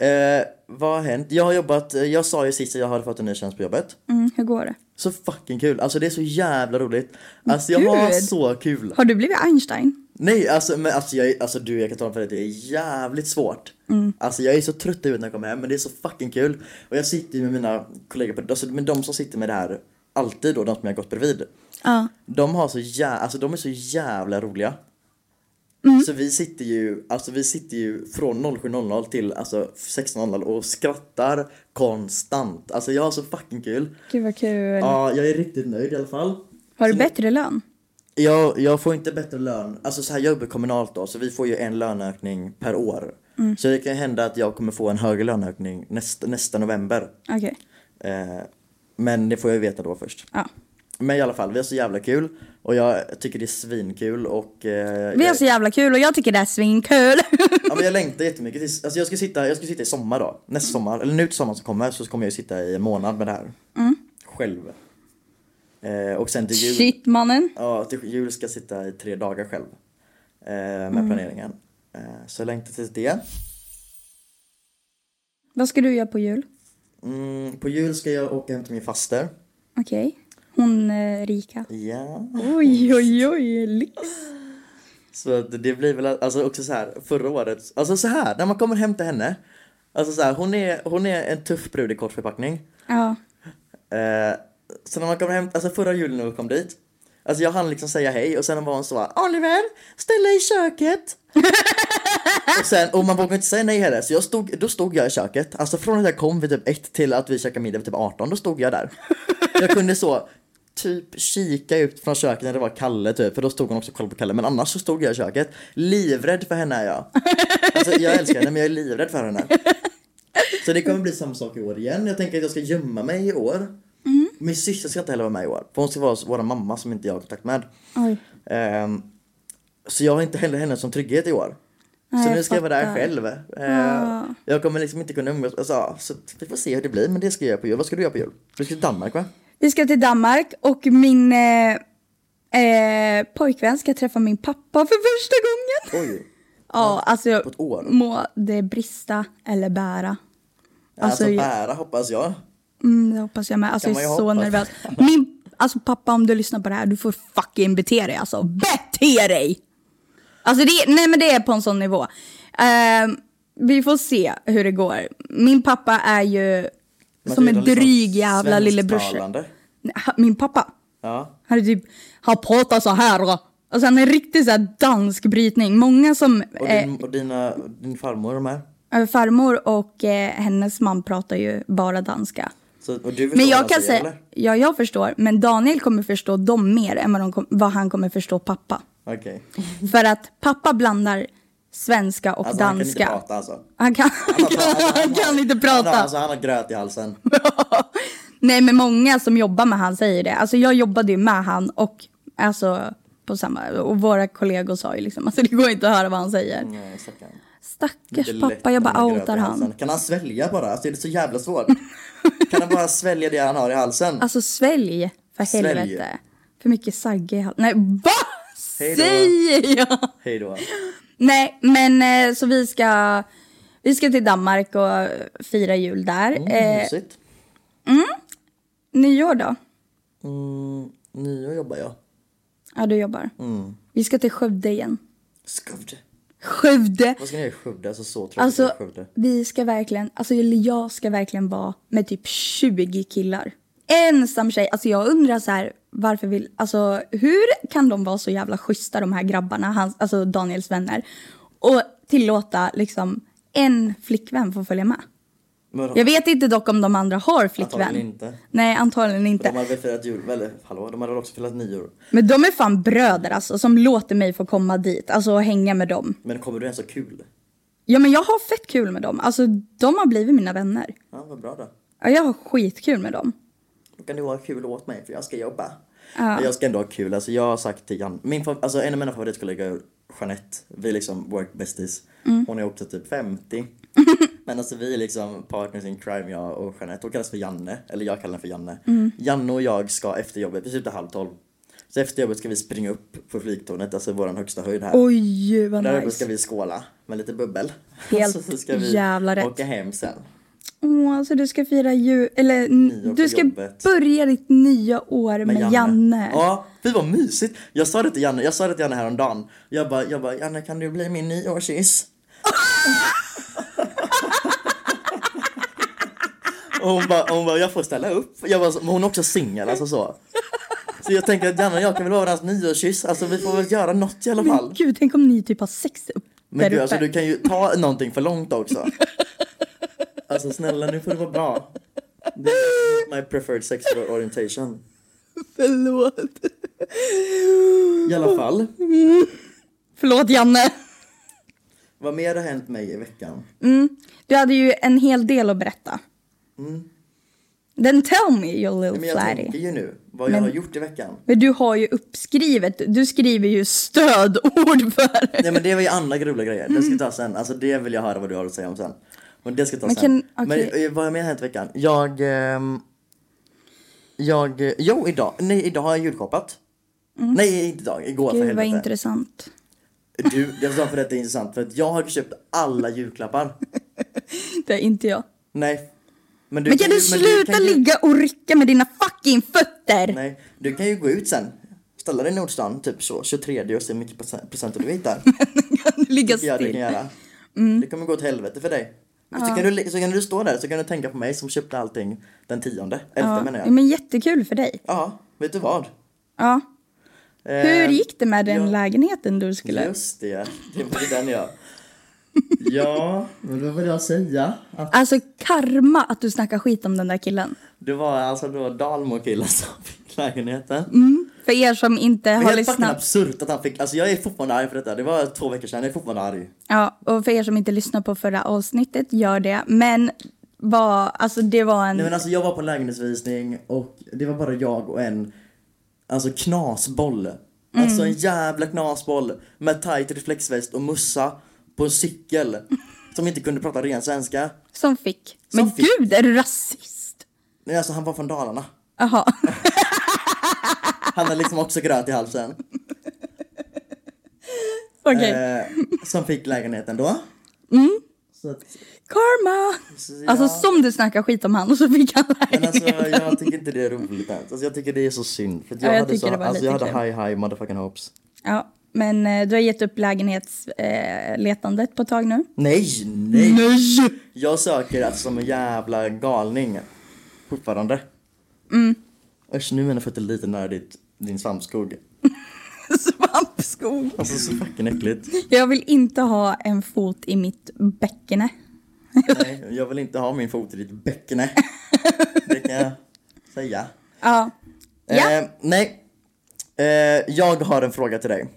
Speaker 2: Eh, vad har hänt? Jag har jobbat, eh, jag sa ju sist att jag hade fått en ny tjänst på jobbet.
Speaker 1: Mm, hur går det?
Speaker 2: Så fucking kul. Alltså det är så jävla roligt. Alltså jag har
Speaker 1: Gud.
Speaker 2: så kul.
Speaker 1: Har du blivit Einstein?
Speaker 2: Nej, alltså, men, alltså, jag, alltså du, jag kan tala om för dig att det är jävligt svårt. Alltså jag är så trött i huvudet när jag kommer hem, men det är så fucking kul. Och jag sitter ju med mina kollegor, på, alltså, men de som sitter med det här alltid då, de som jag har gått bredvid.
Speaker 1: Ja.
Speaker 2: De har så jävla, alltså de är så jävla roliga. Så vi sitter ju, alltså vi sitter ju från 07.00 till alltså 16.00 och skrattar konstant. Alltså jag har så fucking kul.
Speaker 1: Gud vad kul.
Speaker 2: Ja, jag är riktigt nöjd i alla fall.
Speaker 1: Har du bättre lön?
Speaker 2: Jag, jag får inte bättre lön. Alltså så här, jag jobbar kommunalt då, så vi får ju en löneökning per år. Så det kan ju hända att jag kommer få en högre löneökning nästa, nästa november.
Speaker 1: Okej.
Speaker 2: Eh, men det får jag ju veta då först.
Speaker 1: Ja.
Speaker 2: Men i alla fall, vi har så jävla kul. Och jag tycker det är svinkul och... Eh,
Speaker 1: Vi har
Speaker 2: jag,
Speaker 1: så jävla kul och jag tycker det är svinkul.
Speaker 2: ja, men jag längtar jättemycket tills... Alltså jag ska, sitta, jag ska sitta i sommar då. Nästa sommar, eller nu till sommaren som kommer, så kommer jag ju sitta i en månad med det här. Själv. Eh, och sen till jul...
Speaker 1: Shit mannen.
Speaker 2: Ja, till jul ska jag sitta i tre dagar själv eh, med planeringen. Eh, så jag längtar till det.
Speaker 1: Vad ska du göra på jul?
Speaker 2: Mm, på jul ska jag åka hem till min faster.
Speaker 1: Okej. Hon eh, rika.
Speaker 2: Ja.
Speaker 1: Oj, oj, oj. Lyx.
Speaker 2: Så att det blir väl alltså också så här förra året. Alltså så här när man kommer hem till henne. Alltså så här, hon är, hon är en tuff brud i kort förpackning.
Speaker 1: Ja.
Speaker 2: Eh, så när man kommer hem, alltså förra julen när vi kom dit. Alltså jag hann liksom säga hej och sen var hon så här, Oliver, ställ dig i köket. och, sen, och man vågade inte säga nej heller, så jag stod, då stod jag i köket. Alltså från att jag kom vid typ 1 till att vi käkade middag vid typ 18, då stod jag där. jag kunde så typ kika ut från köket när det var Kalle typ, för då stod hon också och kollade på Kalle. Men annars så stod jag i köket. Livrädd för henne är jag. Alltså jag älskar henne men jag är livrädd för henne. Så det kommer bli samma sak i år igen. Jag tänker att jag ska gömma mig i år.
Speaker 1: Mm.
Speaker 2: Min syster ska inte heller vara med i år. För hon ska vara vår mamma som inte jag har kontakt med.
Speaker 1: Oj.
Speaker 2: Ehm, så jag har inte heller henne som trygghet i år.
Speaker 1: Nej,
Speaker 2: så
Speaker 1: jag
Speaker 2: nu ska jag vara där
Speaker 1: fattar.
Speaker 2: själv. Ehm,
Speaker 1: Ja.
Speaker 2: Jag kommer liksom inte kunna umgås. Alltså, ja, så vi får se hur det blir. Men det ska jag göra på jul. Vad ska du göra på jul? Du ska till Danmark va?
Speaker 1: Vi ska till Danmark och min eh, eh, pojkvän ska träffa min pappa för första gången.
Speaker 2: Oj.
Speaker 1: Ja, alltså
Speaker 2: På ett
Speaker 1: jag
Speaker 2: år. Eh,
Speaker 1: må det brista eller bära.
Speaker 2: Alltså,
Speaker 1: Alltså, jag-
Speaker 2: bära hoppas jag.
Speaker 1: Mm, det hoppas jag med. Alltså,
Speaker 2: Kan
Speaker 1: jag är
Speaker 2: man ju
Speaker 1: så
Speaker 2: hoppas.
Speaker 1: nervös. Min, alltså pappa om du lyssnar på det här, du får fucking bete dig alltså. Bete dig! Alltså det, nej men det är på en sån nivå. Ehm, vi får se hur det går. Min pappa är ju
Speaker 2: Man
Speaker 1: som
Speaker 2: blir
Speaker 1: en
Speaker 2: liksom
Speaker 1: dryg jävla lillebrorsa.
Speaker 2: svensktalande.
Speaker 1: Nej, ha- Min pappa,
Speaker 2: Ja.
Speaker 1: han är typ, han pratar så här. va. Alltså han är riktigt så här dansk brytning. Många som...
Speaker 2: Och,
Speaker 1: eh,
Speaker 2: din, och dina, din farmor de här.
Speaker 1: Eh, Farmor och eh, hennes man pratar ju bara danska.
Speaker 2: Så, och du förstår
Speaker 1: Men
Speaker 2: vad
Speaker 1: jag
Speaker 2: de
Speaker 1: kan
Speaker 2: säger,
Speaker 1: säga,
Speaker 2: alltså, eller?
Speaker 1: ja jag förstår, men Daniel kommer förstå dem mer än vad, de kom, vad han kommer förstå pappa.
Speaker 2: Okej.
Speaker 1: För att pappa blandar svenska och
Speaker 2: Alltså han kan inte
Speaker 1: danska.
Speaker 2: prata alltså.
Speaker 1: Han kan, han kan, han kan inte prata.
Speaker 2: Han har, alltså, han har gröt i halsen.
Speaker 1: Nej men många som jobbar med han säger det. Alltså jag jobbade ju med han och alltså på samma, och våra kollegor sa ju liksom, alltså det går inte att höra vad han säger.
Speaker 2: Nej, stackarn.
Speaker 1: Stackars
Speaker 2: Det är lätt
Speaker 1: pappa, jag bara
Speaker 2: när man har gröt i
Speaker 1: outar han.
Speaker 2: halsen. Kan han svälja bara? Alltså, det är så jävla svårt. kan han bara svälja det han har i halsen?
Speaker 1: Alltså svälj för
Speaker 2: Svälj.
Speaker 1: helvete. För mycket sagge i hal- Nej, vad
Speaker 2: Hej då.
Speaker 1: säger jag?
Speaker 2: Hej då.
Speaker 1: Nej, men eh, så vi ska, vi ska till Danmark och eh, fira jul där.
Speaker 2: Mm,
Speaker 1: Eh,
Speaker 2: Mysigt.
Speaker 1: nyår då?
Speaker 2: Mm, nyår jobbar jag.
Speaker 1: Ja, du jobbar.
Speaker 2: Mm.
Speaker 1: Vi ska till Skövde igen.
Speaker 2: Skövde.
Speaker 1: Skövde!
Speaker 2: Vad ska ni göra i Skövde? Alltså så tråkigt
Speaker 1: Alltså,
Speaker 2: i Skövde.
Speaker 1: vi ska verkligen, alltså eller jag ska verkligen vara med typ 20 killar. Ensam tjej. Alltså jag undrar så här, varför vill, alltså hur kan de vara så jävla schyssta de här grabbarna, hans, alltså Daniels vänner, och tillåta liksom en flickvän få följa med?
Speaker 2: Men,
Speaker 1: Jag vet inte dock om de andra har flickvän.
Speaker 2: Antagligen inte.
Speaker 1: Nej, antagligen
Speaker 2: De
Speaker 1: inte.
Speaker 2: hade väl firat jul, eller hallå, de hade väl också firat nyår.
Speaker 1: Men de är fan bröder alltså, som låter mig få komma dit, alltså och hänga med dem.
Speaker 2: Men kommer du ens ha kul?
Speaker 1: Ja men jag har fett kul med dem, alltså de har blivit mina vänner.
Speaker 2: Ja, vad bra då.
Speaker 1: Ja, jag har skitkul med dem.
Speaker 2: Då kan du ha kul åt mig för jag ska jobba. Men jag ska ändå ha kul. Alltså jag har sagt till Jan, min, fa- alltså en av mina
Speaker 1: Mm.
Speaker 2: favoritkollegor, Jeanette, vi är liksom workbesties. Hon är också typ 50. Men alltså vi är liksom partners in crime jag och Jeanette. Hon kallas för Janne, eller jag kallar henne för Janne.
Speaker 1: Mm.
Speaker 2: Janne och jag ska efter jobbet, vi slutar halv tolv. Så efter jobbet ska vi springa upp på flygtornet, alltså våran högsta höjd här.
Speaker 1: Oj, vad
Speaker 2: Där uppe
Speaker 1: nice.
Speaker 2: ska vi skåla med lite bubbel.
Speaker 1: Helt
Speaker 2: Och så ska vi
Speaker 1: jävla rätt.
Speaker 2: åka hem sen.
Speaker 1: Åh, så du ska fira jul, eller n-
Speaker 2: Nyår på
Speaker 1: du ska
Speaker 2: jobbet.
Speaker 1: börja ditt nya år med, Janne.
Speaker 2: Ja, fy vad mysigt. Jag sa det till Janne, jag sa det till Janne häromdagen. Jag bara, jag bara, Janne kan du bli min nyårskyss? och hon bara, hon bara, jag får ställa upp. Jag bara, men hon är också singel alltså så. Så jag tänker att Janne och jag kan väl vara varandras nyårskyss. Alltså vi får väl göra något i alla
Speaker 1: Men
Speaker 2: fall.
Speaker 1: gud, tänk om ni typ har sex upp
Speaker 2: Men
Speaker 1: där
Speaker 2: gud,
Speaker 1: uppe.
Speaker 2: alltså du kan ju ta någonting för långt också. Alltså snälla nu får det vara bra. Det är not my preferred sexual orientation.
Speaker 1: Förlåt.
Speaker 2: I alla fall.
Speaker 1: Förlåt Janne.
Speaker 2: Vad mer har hänt mig i
Speaker 1: Mm,
Speaker 2: veckan?
Speaker 1: Du hade ju en hel del att berätta. Then tell me your little
Speaker 2: Mm. Men jag
Speaker 1: flatty.
Speaker 2: tänker ju nu vad jag har gjort i veckan.
Speaker 1: Men du har ju uppskrivet, du skriver ju stödord för det.
Speaker 2: Nej men det var ju andra roliga grejer.
Speaker 1: Mm.
Speaker 2: Det ska jag ta sen. Alltså det vill jag höra vad du har att säga om sen. Men det ska jag ta
Speaker 1: Men
Speaker 2: sen.
Speaker 1: kan-
Speaker 2: Men
Speaker 1: okej.
Speaker 2: eh, vad har mer hänt i veckan? Jag... ehm, jag... eh, Jo, idag. Nej, idag har jag julshoppat. Nej, inte idag. Igår för
Speaker 1: Mm. Gud vad
Speaker 2: helvete.
Speaker 1: intressant.
Speaker 2: Du, jag sa för att det är intressant. För att jag har köpt alla julklappar.
Speaker 1: Det är inte jag.
Speaker 2: Nej. du
Speaker 1: Men kan du
Speaker 2: ju- men
Speaker 1: sluta
Speaker 2: kan ju-
Speaker 1: ligga och rycka med dina fucking fötter?
Speaker 2: Nej, du kan ju gå ut sen. Ställa dig i Nordstan, typ så, 23 och se hur mycket procent- procenter du hittar.
Speaker 1: Kan du ligga
Speaker 2: tycker jag du kan
Speaker 1: still?
Speaker 2: göra.
Speaker 1: Mm.
Speaker 2: Det kommer gå åt helvete för dig. Men Så, kan du, så kan du stå där så kan du tänka på mig som köpte allting den tionde. Elfte menar
Speaker 1: Ja,
Speaker 2: jag.
Speaker 1: men jättekul för dig.
Speaker 2: Ja, vet du vad?
Speaker 1: Ja. Hur
Speaker 2: Eh,
Speaker 1: gick det med den
Speaker 2: ja.
Speaker 1: lägenheten du skulle...
Speaker 2: Just det, det var ju den jag. Ja, men vad vill jag säga? Att
Speaker 1: Alltså karma att du snackar skit om den där killen.
Speaker 2: det var alltså då Dalmo-killen som fick lägenheten.
Speaker 1: Mm, För er som inte
Speaker 2: Men
Speaker 1: har
Speaker 2: helt fucking
Speaker 1: lyssnat.
Speaker 2: absurt att han fick, alltså jag är fortfarande arg för detta. Det var två veckor sedan, jag är fortfarande arg.
Speaker 1: Ja, och för er som inte lyssnar på förra avsnittet, gör det. Men var, alltså det var en...
Speaker 2: Nej men alltså jag var på en lägenhetsvisning och det var bara jag och en alltså knasboll. Alltså
Speaker 1: Mm.
Speaker 2: en jävla knasboll med tight reflexväst och mussa på en cykel som inte kunde prata ren svenska.
Speaker 1: Som fick.
Speaker 2: Som
Speaker 1: men
Speaker 2: fick.
Speaker 1: gud, är du rasist?
Speaker 2: Nej alltså han var från Dalarna.
Speaker 1: Jaha.
Speaker 2: Han är liksom också gröt i halsen.
Speaker 1: Okej.
Speaker 2: Eh, som fick lägenheten då. Så att,
Speaker 1: Karma!
Speaker 2: så
Speaker 1: Alltså
Speaker 2: jag-
Speaker 1: som du snackar skit om han och så fick han
Speaker 2: Men alltså
Speaker 1: lägenheten.
Speaker 2: jag tycker inte det är roligt ens. Alltså jag tycker det är så synd. För att jag,
Speaker 1: Ja, jag
Speaker 2: hade,
Speaker 1: tycker
Speaker 2: så,
Speaker 1: det var
Speaker 2: alltså, jag
Speaker 1: lite
Speaker 2: hade high high motherfucking hopes.
Speaker 1: Ja, men eh, du har gett upp lägenhetsletandet eh, letandet på ett tag nu.
Speaker 2: Nej, nej!
Speaker 1: Nej!
Speaker 2: Jag söker alltså som en jävla galning. Fortfarande. Mm. Usch, nu är mina fötter lite nära ditt, din svampskog.
Speaker 1: Svampskog.
Speaker 2: Alltså så fucking äckligt.
Speaker 1: Jag vill inte ha en fot i mitt bäckene.
Speaker 2: Nej, jag vill inte ha min fot i ditt bäckne. Det kan jag säga.
Speaker 1: Ja. Ja,
Speaker 2: Eh, nej. Eh, jag har en fråga till dig.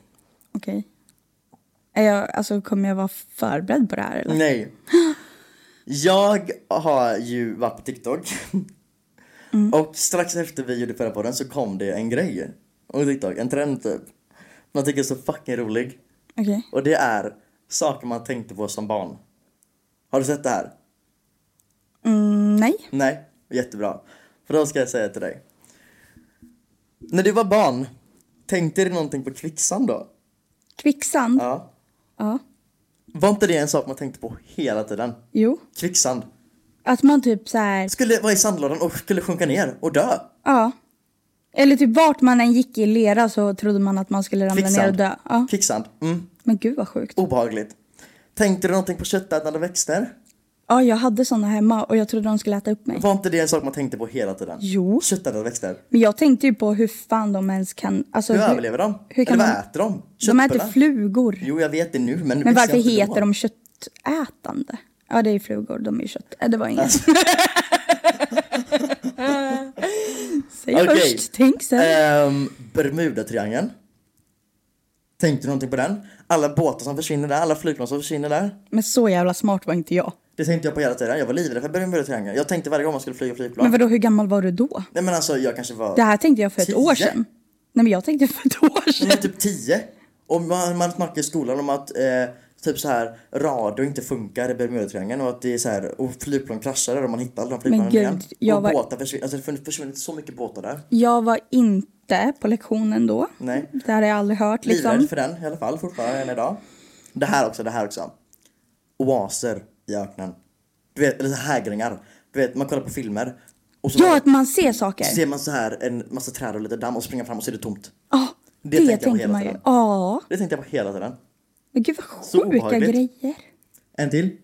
Speaker 1: okej. Är jag, alltså kommer jag vara förberedd på det här eller?
Speaker 2: Nej. Jag har ju varit på TikTok. Och strax efter vi gjorde förra podden så kom det en grej. Och TikTok, en trend typ. Man tycker är så fucking rolig.
Speaker 1: Okej.
Speaker 2: Och det är saker man tänkte på som barn. Har du sett det här?
Speaker 1: Mm, nej.
Speaker 2: Nej? Jättebra. För då ska jag säga till dig. När du var barn, tänkte du någonting på kvicksand då?
Speaker 1: Kvicksand?
Speaker 2: Ja.
Speaker 1: Ja.
Speaker 2: Var inte det en sak man tänkte på hela tiden?
Speaker 1: Jo.
Speaker 2: Kvicksand.
Speaker 1: Att man typ så här...
Speaker 2: Skulle vara i sandlådan och skulle sjunka ner och dö.
Speaker 1: Ja. Eller typ vart man än gick i lera så trodde man att man skulle ramla ner och
Speaker 2: Kvicksand.
Speaker 1: dö. Ja.
Speaker 2: Kvicksand. Mm.
Speaker 1: Men gud vad sjukt.
Speaker 2: Obehagligt. Tänkte du någonting på köttätande växter?
Speaker 1: Ja, jag hade såna hemma och jag trodde de skulle äta upp mig.
Speaker 2: Var inte det en sak man tänkte på hela tiden?
Speaker 1: Jo.
Speaker 2: Köttätande växter.
Speaker 1: Men jag tänkte ju på hur fan de ens kan... Alltså,
Speaker 2: Hur överlever de?
Speaker 1: hur kan
Speaker 2: Eller vad
Speaker 1: man-
Speaker 2: äter de?
Speaker 1: De äter
Speaker 2: Köttbullar?
Speaker 1: flugor.
Speaker 2: Jo, jag vet det nu, men...
Speaker 1: Men varför heter de köttätande? Ja, det är ju flugor. De är ju kött. Äh, Det var inget. Säg
Speaker 2: Okej.
Speaker 1: först, tänk sen.
Speaker 2: Um, Bermudatriangeln. Tänkte du någonting på den? Alla båtar som försvinner där, alla flygplan som försvinner där.
Speaker 1: Men så jävla smart var inte jag.
Speaker 2: Det tänkte jag på hela tiden. Jag var livrädd för Bermudatriangeln. Jag tänkte varje gång man skulle flyga flygplan.
Speaker 1: Men vadå, hur gammal var du då?
Speaker 2: Nej men alltså, jag kanske var...
Speaker 1: Det här tänkte jag för ett
Speaker 2: Tio? Mm.
Speaker 1: år sedan. Nej, men jag tänkte för ett år
Speaker 2: Jag var
Speaker 1: sedan.
Speaker 2: typ 10. Och man, man snackar i skolan om att eh, typ så här radio inte funkar i Bermudatriangeln och att det är så här och flygplan kraschar där och man hittar alla de flygplanen
Speaker 1: gud,
Speaker 2: igen.
Speaker 1: jag
Speaker 2: och
Speaker 1: var-
Speaker 2: båtar försvinner, alltså det försvinner så mycket båtar där.
Speaker 1: Jag var inte på lektionen då.
Speaker 2: Nej.
Speaker 1: Det hade jag aldrig hört liksom.
Speaker 2: Livrädd för den i alla fall fortfarande än idag. Det här också, det här också. Oaser i öknen. Du vet, eller så här hägringar. Du vet, man kollar på filmer. Och så
Speaker 1: Ja, att man ser saker.
Speaker 2: ser man så här en massa träd och lite damm och springer fram och så är det tomt.
Speaker 1: Ja,
Speaker 2: Det
Speaker 1: det,
Speaker 2: tänkte jag på
Speaker 1: tänker
Speaker 2: hela
Speaker 1: man ju.
Speaker 2: tiden.
Speaker 1: Ja,
Speaker 2: Det tänkte jag på hela tiden.
Speaker 1: men gud vad
Speaker 2: Så
Speaker 1: sjuka
Speaker 2: obehagligt.
Speaker 1: grejer.
Speaker 2: En till.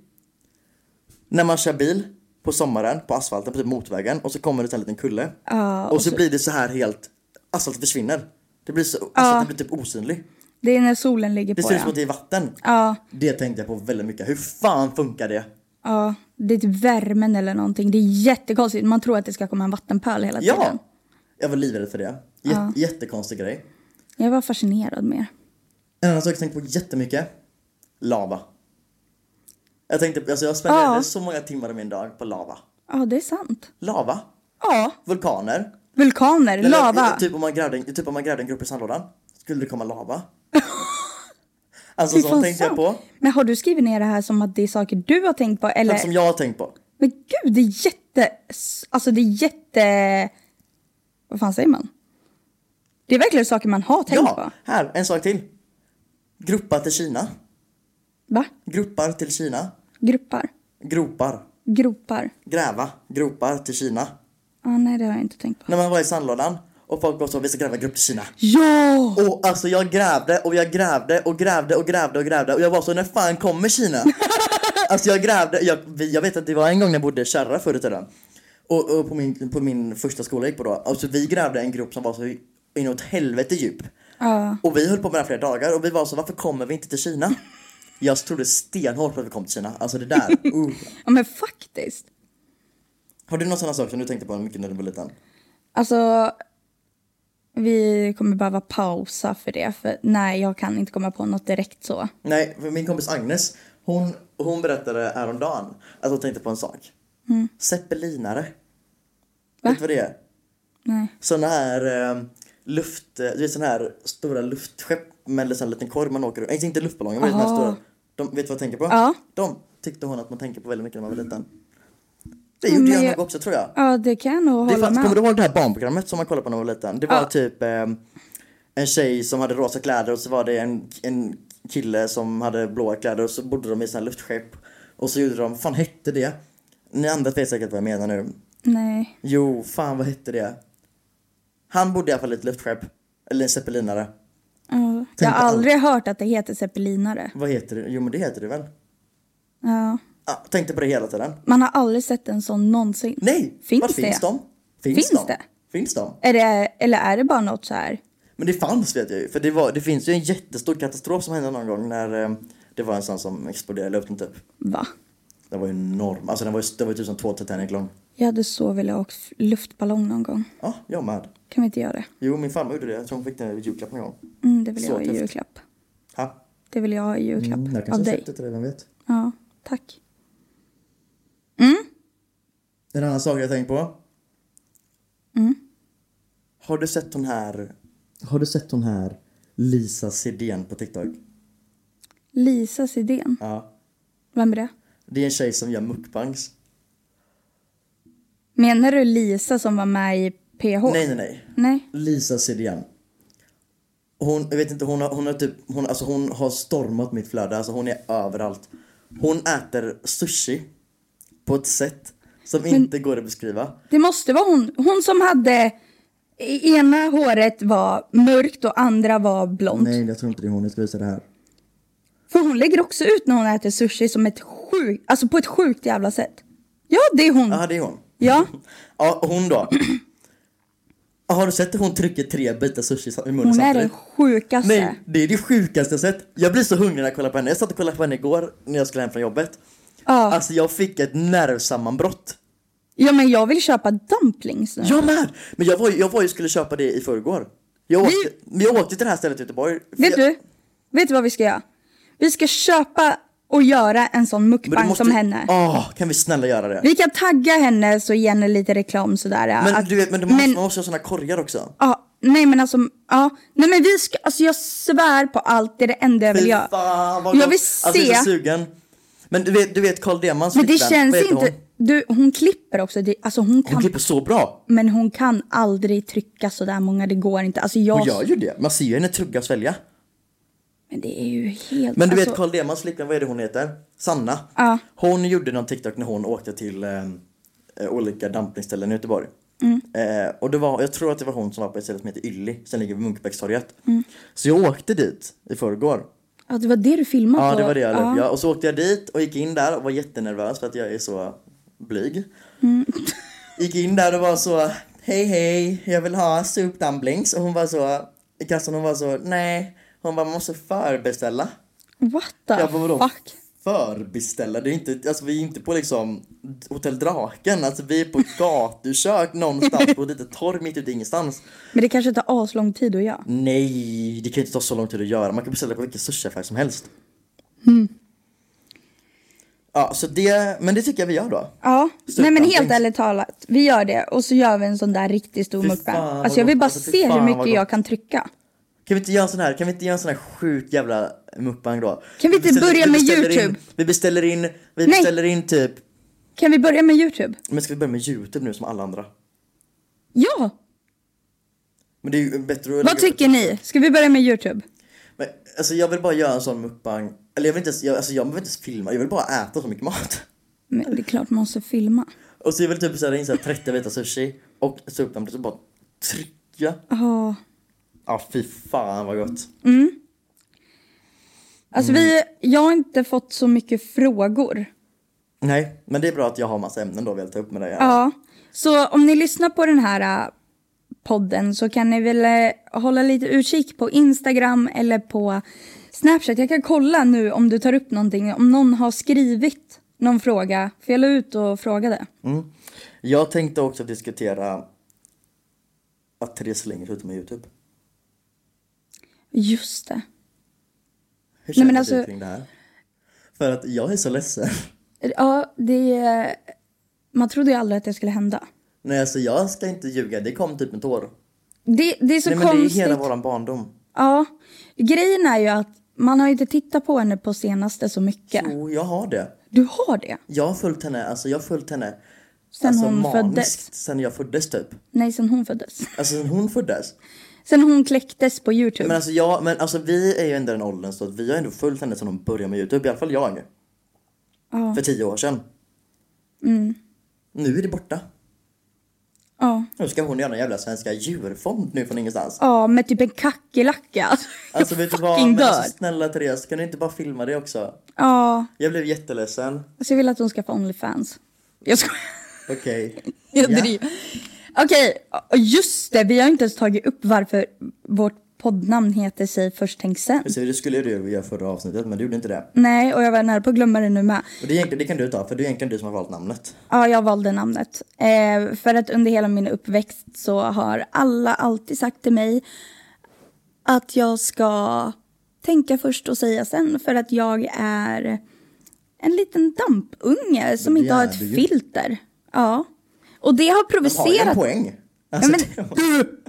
Speaker 2: När man kör bil på sommaren på asfalten, på typ motorvägen och så kommer det så här en liten kulle.
Speaker 1: Ja,
Speaker 2: och, så, blir det så här helt, asfalten försvinner. Det blir så, asfalten blir typ osynlig.
Speaker 1: Det är när solen ligger
Speaker 2: Det
Speaker 1: på
Speaker 2: ser ut som
Speaker 1: ja.
Speaker 2: att det är vatten.
Speaker 1: Ja,
Speaker 2: Det tänkte jag på väldigt mycket. Hur fan funkar det?
Speaker 1: ja, det är typ värmen eller någonting. Det är jättekonstigt. Man tror att det ska komma en vattenpöl hela
Speaker 2: Ja!
Speaker 1: tiden.
Speaker 2: Jag var livrädd för det. Jät- Jättekonstig grej.
Speaker 1: Jag var fascinerad mer.
Speaker 2: En annan sak jag tänkte på jättemycket. Lava. Jag tänkte, alltså jag spenderade
Speaker 1: Ja.
Speaker 2: så många timmar av min dag på lava.
Speaker 1: Ja, det är sant.
Speaker 2: Lava.
Speaker 1: Ja,
Speaker 2: Vulkaner.
Speaker 1: vulkaner,
Speaker 2: Eller,
Speaker 1: lava.
Speaker 2: Typ om man grävde, en- typ om man grävde en grop i sandlådan. Skulle det komma lava? alltså
Speaker 1: Fy
Speaker 2: sånt
Speaker 1: fan,
Speaker 2: tänkte jag
Speaker 1: sant.
Speaker 2: på.
Speaker 1: Men har du skrivit ner det här som att det är saker du har tänkt på? Eller?
Speaker 2: Sånt som jag har tänkt på.
Speaker 1: Men gud, det är jätte... Alltså det är jätte... Vad fan säger man? Det är verkligen saker man har tänkt
Speaker 2: ja,
Speaker 1: på.
Speaker 2: här, en sak till. Gruppar till Kina.
Speaker 1: Va?
Speaker 2: Gruppar till Kina.
Speaker 1: Gruppar?
Speaker 2: Gropar.
Speaker 1: Gropar?
Speaker 2: Gräva. Gropar till Kina.
Speaker 1: Ah, nej, det har jag inte tänkt på.
Speaker 2: När man var i sandlådan och folk var så, vi ska gräva en grop till Kina.
Speaker 1: Ja!
Speaker 2: Och alltså jag grävde och jag grävde och grävde och grävde och grävde och jag var så när fan kommer Kina? alltså jag grävde, jag, vi- jag vet att det var en gång när jag bodde i Kärra förr i tiden. Och, och på, min, på min första skola jag gick på då, alltså vi grävde en grop som var så inåt helvete djup.
Speaker 1: Ja.
Speaker 2: Och vi höll på med det här flera dagar och vi var så varför kommer vi inte till Kina? Jag trodde stenhårt på att vi kom till Kina, alltså det där. Uh.
Speaker 1: ja, men faktiskt.
Speaker 2: Har du någon sån här sak som du tänkte på mycket när du var liten?
Speaker 1: Alltså, vi kommer behöva pausa för det. För nej, jag kan inte komma på något direkt så.
Speaker 2: Nej, för min kompis Agnes, hon, hon berättade häromdagen att hon tänkte på en sak.
Speaker 1: Mm.
Speaker 2: Zeppelinare. Vet du vad det är?
Speaker 1: Nej.
Speaker 2: Såna här eh, luft, eh, du vet såna här stora luftskepp med en sån liten korg man åker Nej, inte luftballonger men de här
Speaker 1: Aha.
Speaker 2: stora. De, vet du vad jag tänker på?
Speaker 1: Ah. Ja.
Speaker 2: De tyckte hon att man tänker på väldigt mycket när man var liten. Det gjorde
Speaker 1: men
Speaker 2: jag,
Speaker 1: jag-
Speaker 2: nog också tror jag.
Speaker 1: Ja, det kan jag nog
Speaker 2: Det
Speaker 1: hålla
Speaker 2: fanns,
Speaker 1: med
Speaker 2: kommer
Speaker 1: om.
Speaker 2: du ihåg det här barnprogrammet som man kollade på när man var liten? Det var
Speaker 1: Ja.
Speaker 2: typ eh, en tjej som hade rosa kläder och så var det en, en kille som hade blåa kläder och så bodde de i sådana luftskepp. Och så gjorde de, vad fan hette det? Ni andra vet säkert vad jag menar nu.
Speaker 1: Nej.
Speaker 2: Jo, fan vad hette det? Han bodde i alla fall i ett luftskepp. Eller en zeppelinare.
Speaker 1: Ja. Jag
Speaker 2: Tänkte
Speaker 1: har aldrig hört att det heter zeppelinare.
Speaker 2: Vad heter det? Jo men det heter det väl?
Speaker 1: Ja.
Speaker 2: Ah, tänkte på det hela tiden.
Speaker 1: Man har aldrig sett en sån någonsin.
Speaker 2: Nej!
Speaker 1: Finns
Speaker 2: Var
Speaker 1: det?
Speaker 2: finns de?
Speaker 1: Finns
Speaker 2: de?
Speaker 1: det?
Speaker 2: Finns de?
Speaker 1: Är det, eller är det bara något så här?
Speaker 2: Men det fanns vet jag ju, för det, var, det finns ju en jättestor katastrof som hände någon gågång när eh, det var en sån som exploderade i luften typ.
Speaker 1: Va?
Speaker 2: Den var ju enorm, alltså den var ju, den var ju typ som två Titanic lång.
Speaker 1: Jag hade så velat ha åkt luftballong någon gång.
Speaker 2: Ja, jag med.
Speaker 1: Kan vi inte göra det?
Speaker 2: Jo, min farmor gjorde det, jag tror hon fick den i julklapp någon gång.
Speaker 1: Mm, det vill
Speaker 2: Så
Speaker 1: jag ha i
Speaker 2: tufft.
Speaker 1: julklapp.
Speaker 2: Ha?
Speaker 1: Det vill jag ha i julklapp
Speaker 2: Mm, jag
Speaker 1: av
Speaker 2: kanske
Speaker 1: dig.
Speaker 2: släppte till dig, vem vet?
Speaker 1: Ja, tack.
Speaker 2: En annan sak jag tänkt på.
Speaker 1: Mm.
Speaker 2: Har du sett hon här, har du sett hon här Lisa Sidén på TikTok?
Speaker 1: Lisas idén.
Speaker 2: Ja.
Speaker 1: Vem är det?
Speaker 2: Det är en tjej som gör mukbangs.
Speaker 1: Menar du Lisa som var med i PH?
Speaker 2: Nej, nej, nej.
Speaker 1: Nej.
Speaker 2: Lisa Sidén. Hon, jag vet inte, hon har, hon har typ, hon, alltså hon har stormat mitt flöde, alltså hon är överallt. Hon äter sushi på ett sätt som inte går att beskriva.
Speaker 1: Det måste vara hon. Hon som hade... i- Ena håret var mörkt och andra var blont.
Speaker 2: Nej, jag tror inte det är hon, jag ska visa det här.
Speaker 1: För hon lägger också ut när hon äter sushi som ett sjukt... Alltså på ett sjukt jävla sätt. Ja, det är hon.
Speaker 2: Ja, det är hon.
Speaker 1: Ja.
Speaker 2: Ja, och hon då. Ja, Har du sett att hon trycker tre bitar sushi i munnen
Speaker 1: Hon är
Speaker 2: samtidigt?
Speaker 1: den sjukaste.
Speaker 2: Nej, det är det sjukaste jag sett. Jag blir så hungrig när jag kollar på henne. Jag satt och kollade på henne igår när jag skulle hem från jobbet.
Speaker 1: Ja.
Speaker 2: Alltså jag fick ett nervsammanbrott.
Speaker 1: ja, men jag vill köpa dumplings nu.
Speaker 2: Jag med! Men jag var ju, jag var ju skulle köpa det i förrgår. Jag åkte, men jag åkte till det här stället i Göteborg. För
Speaker 1: Vet
Speaker 2: jag,
Speaker 1: du? Vet du vad vi ska göra? Vi ska köpa och göra en sån
Speaker 2: men du
Speaker 1: mukbang som henne.
Speaker 2: Åh, kan vi snälla göra det?
Speaker 1: Vi kan tagga henne så ger henne lite reklam sådär.
Speaker 2: Men
Speaker 1: att-
Speaker 2: du vet, men, du måste,
Speaker 1: men-
Speaker 2: man måste ha såna korgar också.
Speaker 1: Ja, Nej men alltså, ja. Nej men vi ska, alltså jag svär på allt, det är det enda jag vill göra.
Speaker 2: fan vad
Speaker 1: Jag
Speaker 2: gott.
Speaker 1: vill
Speaker 2: Alltså jag är så
Speaker 1: se.
Speaker 2: sugen. Men du vet, du vet Carl Demans
Speaker 1: Men det
Speaker 2: flickvän,
Speaker 1: känns
Speaker 2: vad heter
Speaker 1: inte,
Speaker 2: Hon?
Speaker 1: du hon klipper också, det, alltså hon kan,
Speaker 2: hon klipper så bra.
Speaker 1: men hon kan aldrig trycka sådär många, det går inte. Alltså jag,
Speaker 2: Hon gör ju det. Man ser ju henne tugga och svälja.
Speaker 1: men det är ju helt,
Speaker 2: Men du
Speaker 1: alltså,
Speaker 2: vet Carl Demans flickvän, vad är det hon heter? Sanna.
Speaker 1: Ja.
Speaker 2: Hon gjorde någon TikTok när hon åkte till eh, eh, olika dumpningsställen i Göteborg.
Speaker 1: Mm.
Speaker 2: Eh, och det var, jag tror att det var hon som var på ett ställe som heter Ylli, som ligger vid Munkbäckstorget.
Speaker 1: Mm.
Speaker 2: Så jag åkte dit i förrgår.
Speaker 1: ja, det var det du filmade
Speaker 2: Ja,
Speaker 1: på.
Speaker 2: det var det jag la upp. ja. Och så åkte jag dit och gick in där och var jättenervös för att jag är så blyg.
Speaker 1: Mm.
Speaker 2: Gick in där och var så, hej hej, jag vill ha soup dumplings. Och hon var så, i kassan hon var så, nej. Hon bara, man måste förbeställa.
Speaker 1: What the
Speaker 2: Jag bara, vadå?
Speaker 1: fuck?
Speaker 2: Förbeställa? Det är inte, alltså vi är inte på liksom Hotell Draken, alltså vi är på ett gatukök någonstans på ett litet torg mitt ute i ingenstans.
Speaker 1: Men det kanske tar aslång tid att göra.
Speaker 2: Nej, det kan ju inte ta så lång tid att göra. Man kan beställa på vilken sushiaffär som helst.
Speaker 1: Hmm.
Speaker 2: Ja, så det, men det tycker jag vi gör då.
Speaker 1: Ja,
Speaker 2: Stort
Speaker 1: nej men
Speaker 2: dumpling.
Speaker 1: helt ärligt talat. Vi gör det och så gör vi en sån där riktigt stor
Speaker 2: Fy
Speaker 1: mukbang.
Speaker 2: fan, vad
Speaker 1: Alltså jag vill
Speaker 2: gott.
Speaker 1: bara
Speaker 2: Alltså, fy
Speaker 1: se hur
Speaker 2: fan, vad
Speaker 1: mycket jag
Speaker 2: gott.
Speaker 1: kan trycka.
Speaker 2: Kan vi inte göra en sån här, kan vi inte göra en sån här sjukt jävla mukbang då?
Speaker 1: Kan vi inte
Speaker 2: beställer-
Speaker 1: börja med
Speaker 2: beställer In,
Speaker 1: YouTube?
Speaker 2: vi beställer in,
Speaker 1: Nej.
Speaker 2: vi beställer in typ,
Speaker 1: Kan vi börja med Youtube?
Speaker 2: men ska vi börja med YouTube nu som alla andra?
Speaker 1: Ja!
Speaker 2: Men det är ju bättre att lägga
Speaker 1: Vad
Speaker 2: upp-
Speaker 1: tycker ni? Ska vi börja med Youtube?
Speaker 2: Men, alltså jag vill bara göra en sån mukbang, eller jag vill inte ens, jag, alltså jag vill inte ens filma, jag vill bara äta så mycket mat.
Speaker 1: Men det är klart man måste filma.
Speaker 2: Och så jag vill typ beställa in så här 30 vita sushi och så upp dem och så bara trycka.
Speaker 1: Ja.
Speaker 2: Ja fy fan vad gott.
Speaker 1: Alltså
Speaker 2: Mm.
Speaker 1: vi, jag har inte fått så mycket frågor.
Speaker 2: Nej, men det är bra att jag har massa ämnen då vi vill ta upp med dig. här.
Speaker 1: Ja. Så om ni lyssnar på den här äh, podden så kan ni väl äh, hålla lite utkik på Instagram eller på Snapchat. Jag kan kolla nu om du tar upp någonting, om någon har skrivit någon fråga. För jag la ut och frågade.
Speaker 2: Mm. Jag tänkte också diskutera att Therese Lindgren slutar med Youtube.
Speaker 1: Just det.
Speaker 2: Hur känner
Speaker 1: men
Speaker 2: du
Speaker 1: alltså-
Speaker 2: kring det här? För att jag är så ledsen.
Speaker 1: Ja, det... är- Man trodde ju aldrig att det skulle hända.
Speaker 2: Nej alltså jag ska inte ljuga, det kom typ en tår.
Speaker 1: Det, det är så
Speaker 2: Nej men
Speaker 1: konstigt.
Speaker 2: det är hela våran barndom.
Speaker 1: Ja, grejen är ju att man har ju inte tittat på henne på senaste så mycket.
Speaker 2: Jo, jag har det.
Speaker 1: Du har det?
Speaker 2: Jag har följt henne, alltså jag har följt henne
Speaker 1: Sen
Speaker 2: alltså,
Speaker 1: hon
Speaker 2: maniskt
Speaker 1: föddes?
Speaker 2: Sen jag föddes typ.
Speaker 1: Nej, sen hon föddes.
Speaker 2: Alltså sen hon föddes.
Speaker 1: Sen hon kläcktes på Youtube.
Speaker 2: Men alltså jag, men alltså vi är ju ändå i den åldern så att vi har ändå följt henne sedan hon började med Youtube, i alla fall jag.
Speaker 1: Ja. Mm.
Speaker 2: För tio år sedan. Nu är det borta.
Speaker 1: Ja.
Speaker 2: Nu ska hon göra en jävla svenska djurfond nu från ingenstans.
Speaker 1: ja, med typ en kackerlacka. Alltså,
Speaker 2: Alltså
Speaker 1: jag
Speaker 2: vet du vad?
Speaker 1: fucking
Speaker 2: Men
Speaker 1: dör.
Speaker 2: alltså, snälla Therese, kan du inte bara filma det också?
Speaker 1: Ja,
Speaker 2: Jag blev jätteledsen.
Speaker 1: alltså jag vill att hon ska få Onlyfans. Jag skojar.
Speaker 2: Okej.
Speaker 1: Jag
Speaker 2: Ja.
Speaker 1: driver. Okej, och just det. Vi har inte ens tagit upp varför vårt poddnamn heter Säg först tänk sen.
Speaker 2: Precis, det skulle du göra i förra avsnittet men du gjorde inte det.
Speaker 1: Nej, och jag var nära på att glömma det nu med.
Speaker 2: Och det, är egentligen, det kan du ta för det är egentligen du som har valt namnet.
Speaker 1: Ja, jag valde namnet. Eh, för att under hela min uppväxt så har alla alltid sagt till mig att jag ska tänka först och säga sen för att jag är en liten dampunge som
Speaker 2: Men det
Speaker 1: inte har
Speaker 2: är
Speaker 1: ett
Speaker 2: du ju.
Speaker 1: filter. Ja. Och det har
Speaker 2: Men Har jag
Speaker 1: provocerat,
Speaker 2: en poäng? Alltså,
Speaker 1: men-
Speaker 2: det var-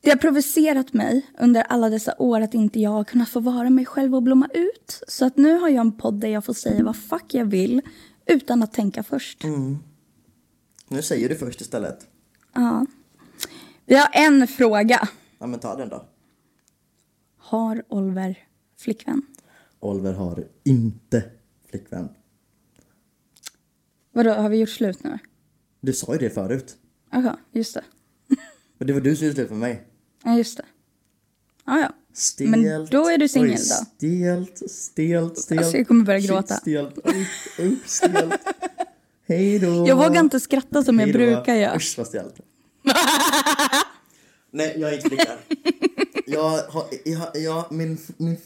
Speaker 1: det har provocerat mig under alla dessa år att inte jag har kunnat få vara mig själv och blomma ut. Så att nu har jag en podd där jag får säga vad fuck jag vill utan att tänka först.
Speaker 2: Nu säger du först istället.
Speaker 1: Ja. Vi har en fråga.
Speaker 2: Ja men ta den då.
Speaker 1: Har Oliver flickvän?
Speaker 2: Oliver har inte flickvän.
Speaker 1: Vadå, har vi gjort slut nu?
Speaker 2: Du sa ju det förut.
Speaker 1: Jaha, just det.
Speaker 2: Men det var du som gjorde slut med mig.
Speaker 1: Ja, just det. Ja, ja.
Speaker 2: Stelt.
Speaker 1: Men då är du singel
Speaker 2: Oj,
Speaker 1: då.
Speaker 2: Stelt, stelt, stelt.
Speaker 1: Alltså, jag kommer börja
Speaker 2: Shit,
Speaker 1: gråta.
Speaker 2: Stelt, upp, upp, stelt. Hej då.
Speaker 1: Jag vågar inte skratta som jag
Speaker 2: Hej då.
Speaker 1: brukar göra.
Speaker 2: Usch vad stelt. Nej, jag är inte flickvän. Jag har, jag, jag, min, min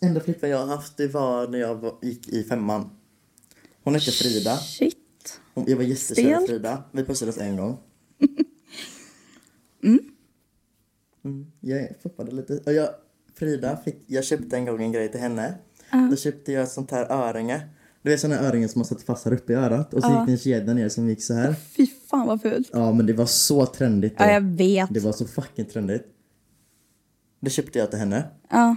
Speaker 2: enda flickvän jag har haft det var när jag var, gick i femman. Hon hette Frida.
Speaker 1: Shit.
Speaker 2: Hon- Jag var jättekär i
Speaker 1: Stelt.
Speaker 2: Frida. Vi pussades en gång. Mm, jag är fortfarande lite... Och jag, Frida fick... Jag köpte en gång en grej till henne. Då köpte jag ett sånt här öringe. Du vet såna öringar som man sätter fast här uppe i örat och så gick det en kedja ner som gick så här.
Speaker 1: Fy fan vad fult.
Speaker 2: Ja men det var så trendigt då.
Speaker 1: Ja, jag vet.
Speaker 2: Det var så fucking trendigt. Det köpte jag till henne.
Speaker 1: Ja.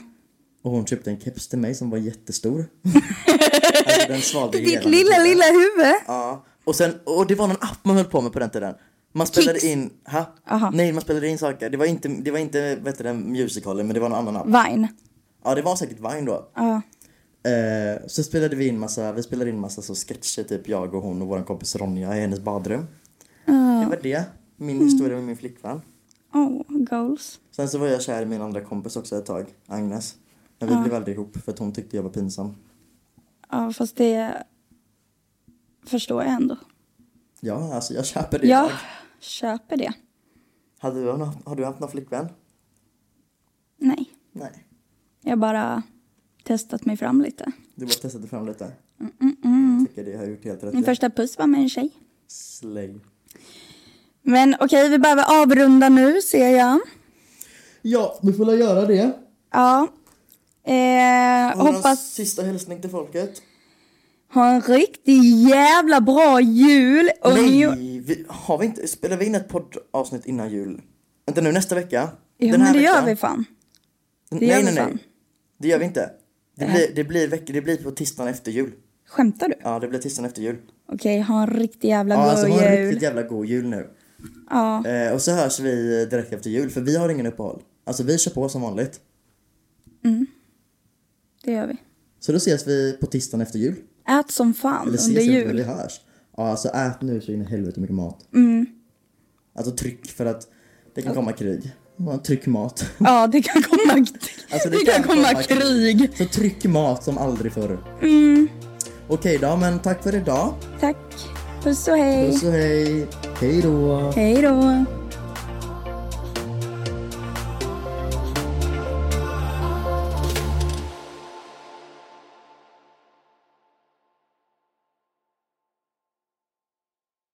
Speaker 2: Och hon köpte en keps till mig som var jättestor. alltså, den svalde hela
Speaker 1: Ditt
Speaker 2: mitt
Speaker 1: lilla,
Speaker 2: huvud.
Speaker 1: lilla huvud.
Speaker 2: Ja, och sen, och det var någon app man höll på med på den tiden. Man spelade
Speaker 1: Kicks.
Speaker 2: in, ha?
Speaker 1: Aha.
Speaker 2: Nej, man spelade in saker. Det var inte, det var inte vet du, den musicalen, men det var någon annan app.
Speaker 1: Vine.
Speaker 2: Ja, det var säkert Vine då.
Speaker 1: Ja.
Speaker 2: Eh, så spelade vi in massa, vi spelade in massa så sketcher, typ jag och hon och vår kompis Ronja i hennes badrum. Det var det, min
Speaker 1: Mm.
Speaker 2: historia med min flickvän.
Speaker 1: Oh, goals.
Speaker 2: Sen så var jag kär i min andra kompis också ett tag, Agnes. Men vi blev aldrig ihop för att hon tyckte jag var pinsam.
Speaker 1: Ja, fast det förstår jag ändå.
Speaker 2: Ja, alltså jag köper det.
Speaker 1: Jag köper det.
Speaker 2: Hade du, har du haft någon flickvän?
Speaker 1: Nej,
Speaker 2: Nej.
Speaker 1: jag bara testat mig fram lite.
Speaker 2: Du bara testade fram lite. Jag tycker det har gjort helt rätt.
Speaker 1: Min första puss var med en tjej.
Speaker 2: Slay.
Speaker 1: Men okej, vi behöver avrunda nu ser jag.
Speaker 2: Ja, vi får väl göra det.
Speaker 1: Ja. Eh,
Speaker 2: Har du någon
Speaker 1: hoppas
Speaker 2: sista hälsning till folket?
Speaker 1: ha en riktigt jävla bra jul. Och nyår.
Speaker 2: Nej, vi, har vi inte, spelar vi in ett poddavsnitt innan jul? Vänta nu, nästa vecka?
Speaker 1: Ja,
Speaker 2: Den
Speaker 1: men
Speaker 2: här
Speaker 1: det gör
Speaker 2: veckan?
Speaker 1: vi fan.
Speaker 2: Nej,
Speaker 1: gör vi Äh.
Speaker 2: nej, nej.
Speaker 1: fan.
Speaker 2: Det gör vi inte. Det blir, det, blir veck, det blir på tisdagen efter jul.
Speaker 1: Skämtar du?
Speaker 2: Ja, det blir tisdagen efter jul.
Speaker 1: Okej, ha en riktigt jävla
Speaker 2: Ja,
Speaker 1: god
Speaker 2: alltså ha en
Speaker 1: jul.
Speaker 2: riktigt jävla god jul nu.
Speaker 1: Ja,
Speaker 2: Eh, och så hörs vi direkt efter jul, för vi har ingen uppehåll. Alltså vi kör på som vanligt.
Speaker 1: det gör vi.
Speaker 2: Så då ses vi på tisdagen efter jul.
Speaker 1: Ät som fan
Speaker 2: Eller ses
Speaker 1: under
Speaker 2: inte, men vi
Speaker 1: jul.
Speaker 2: hörs. Ja, alltså ät nu så in i helvete mycket mat.
Speaker 1: Mm.
Speaker 2: Alltså tryck för att det kan komma krig. Ja, tryck mat.
Speaker 1: Ja, det kan komma,
Speaker 2: Alltså,
Speaker 1: det kan komma krig.
Speaker 2: Så tryck mat som aldrig förr.
Speaker 1: Mm.
Speaker 2: Okej då, men tack för idag.
Speaker 1: Tack. Puss och hej.
Speaker 2: Puss och hej. Hej då.
Speaker 1: Hej då.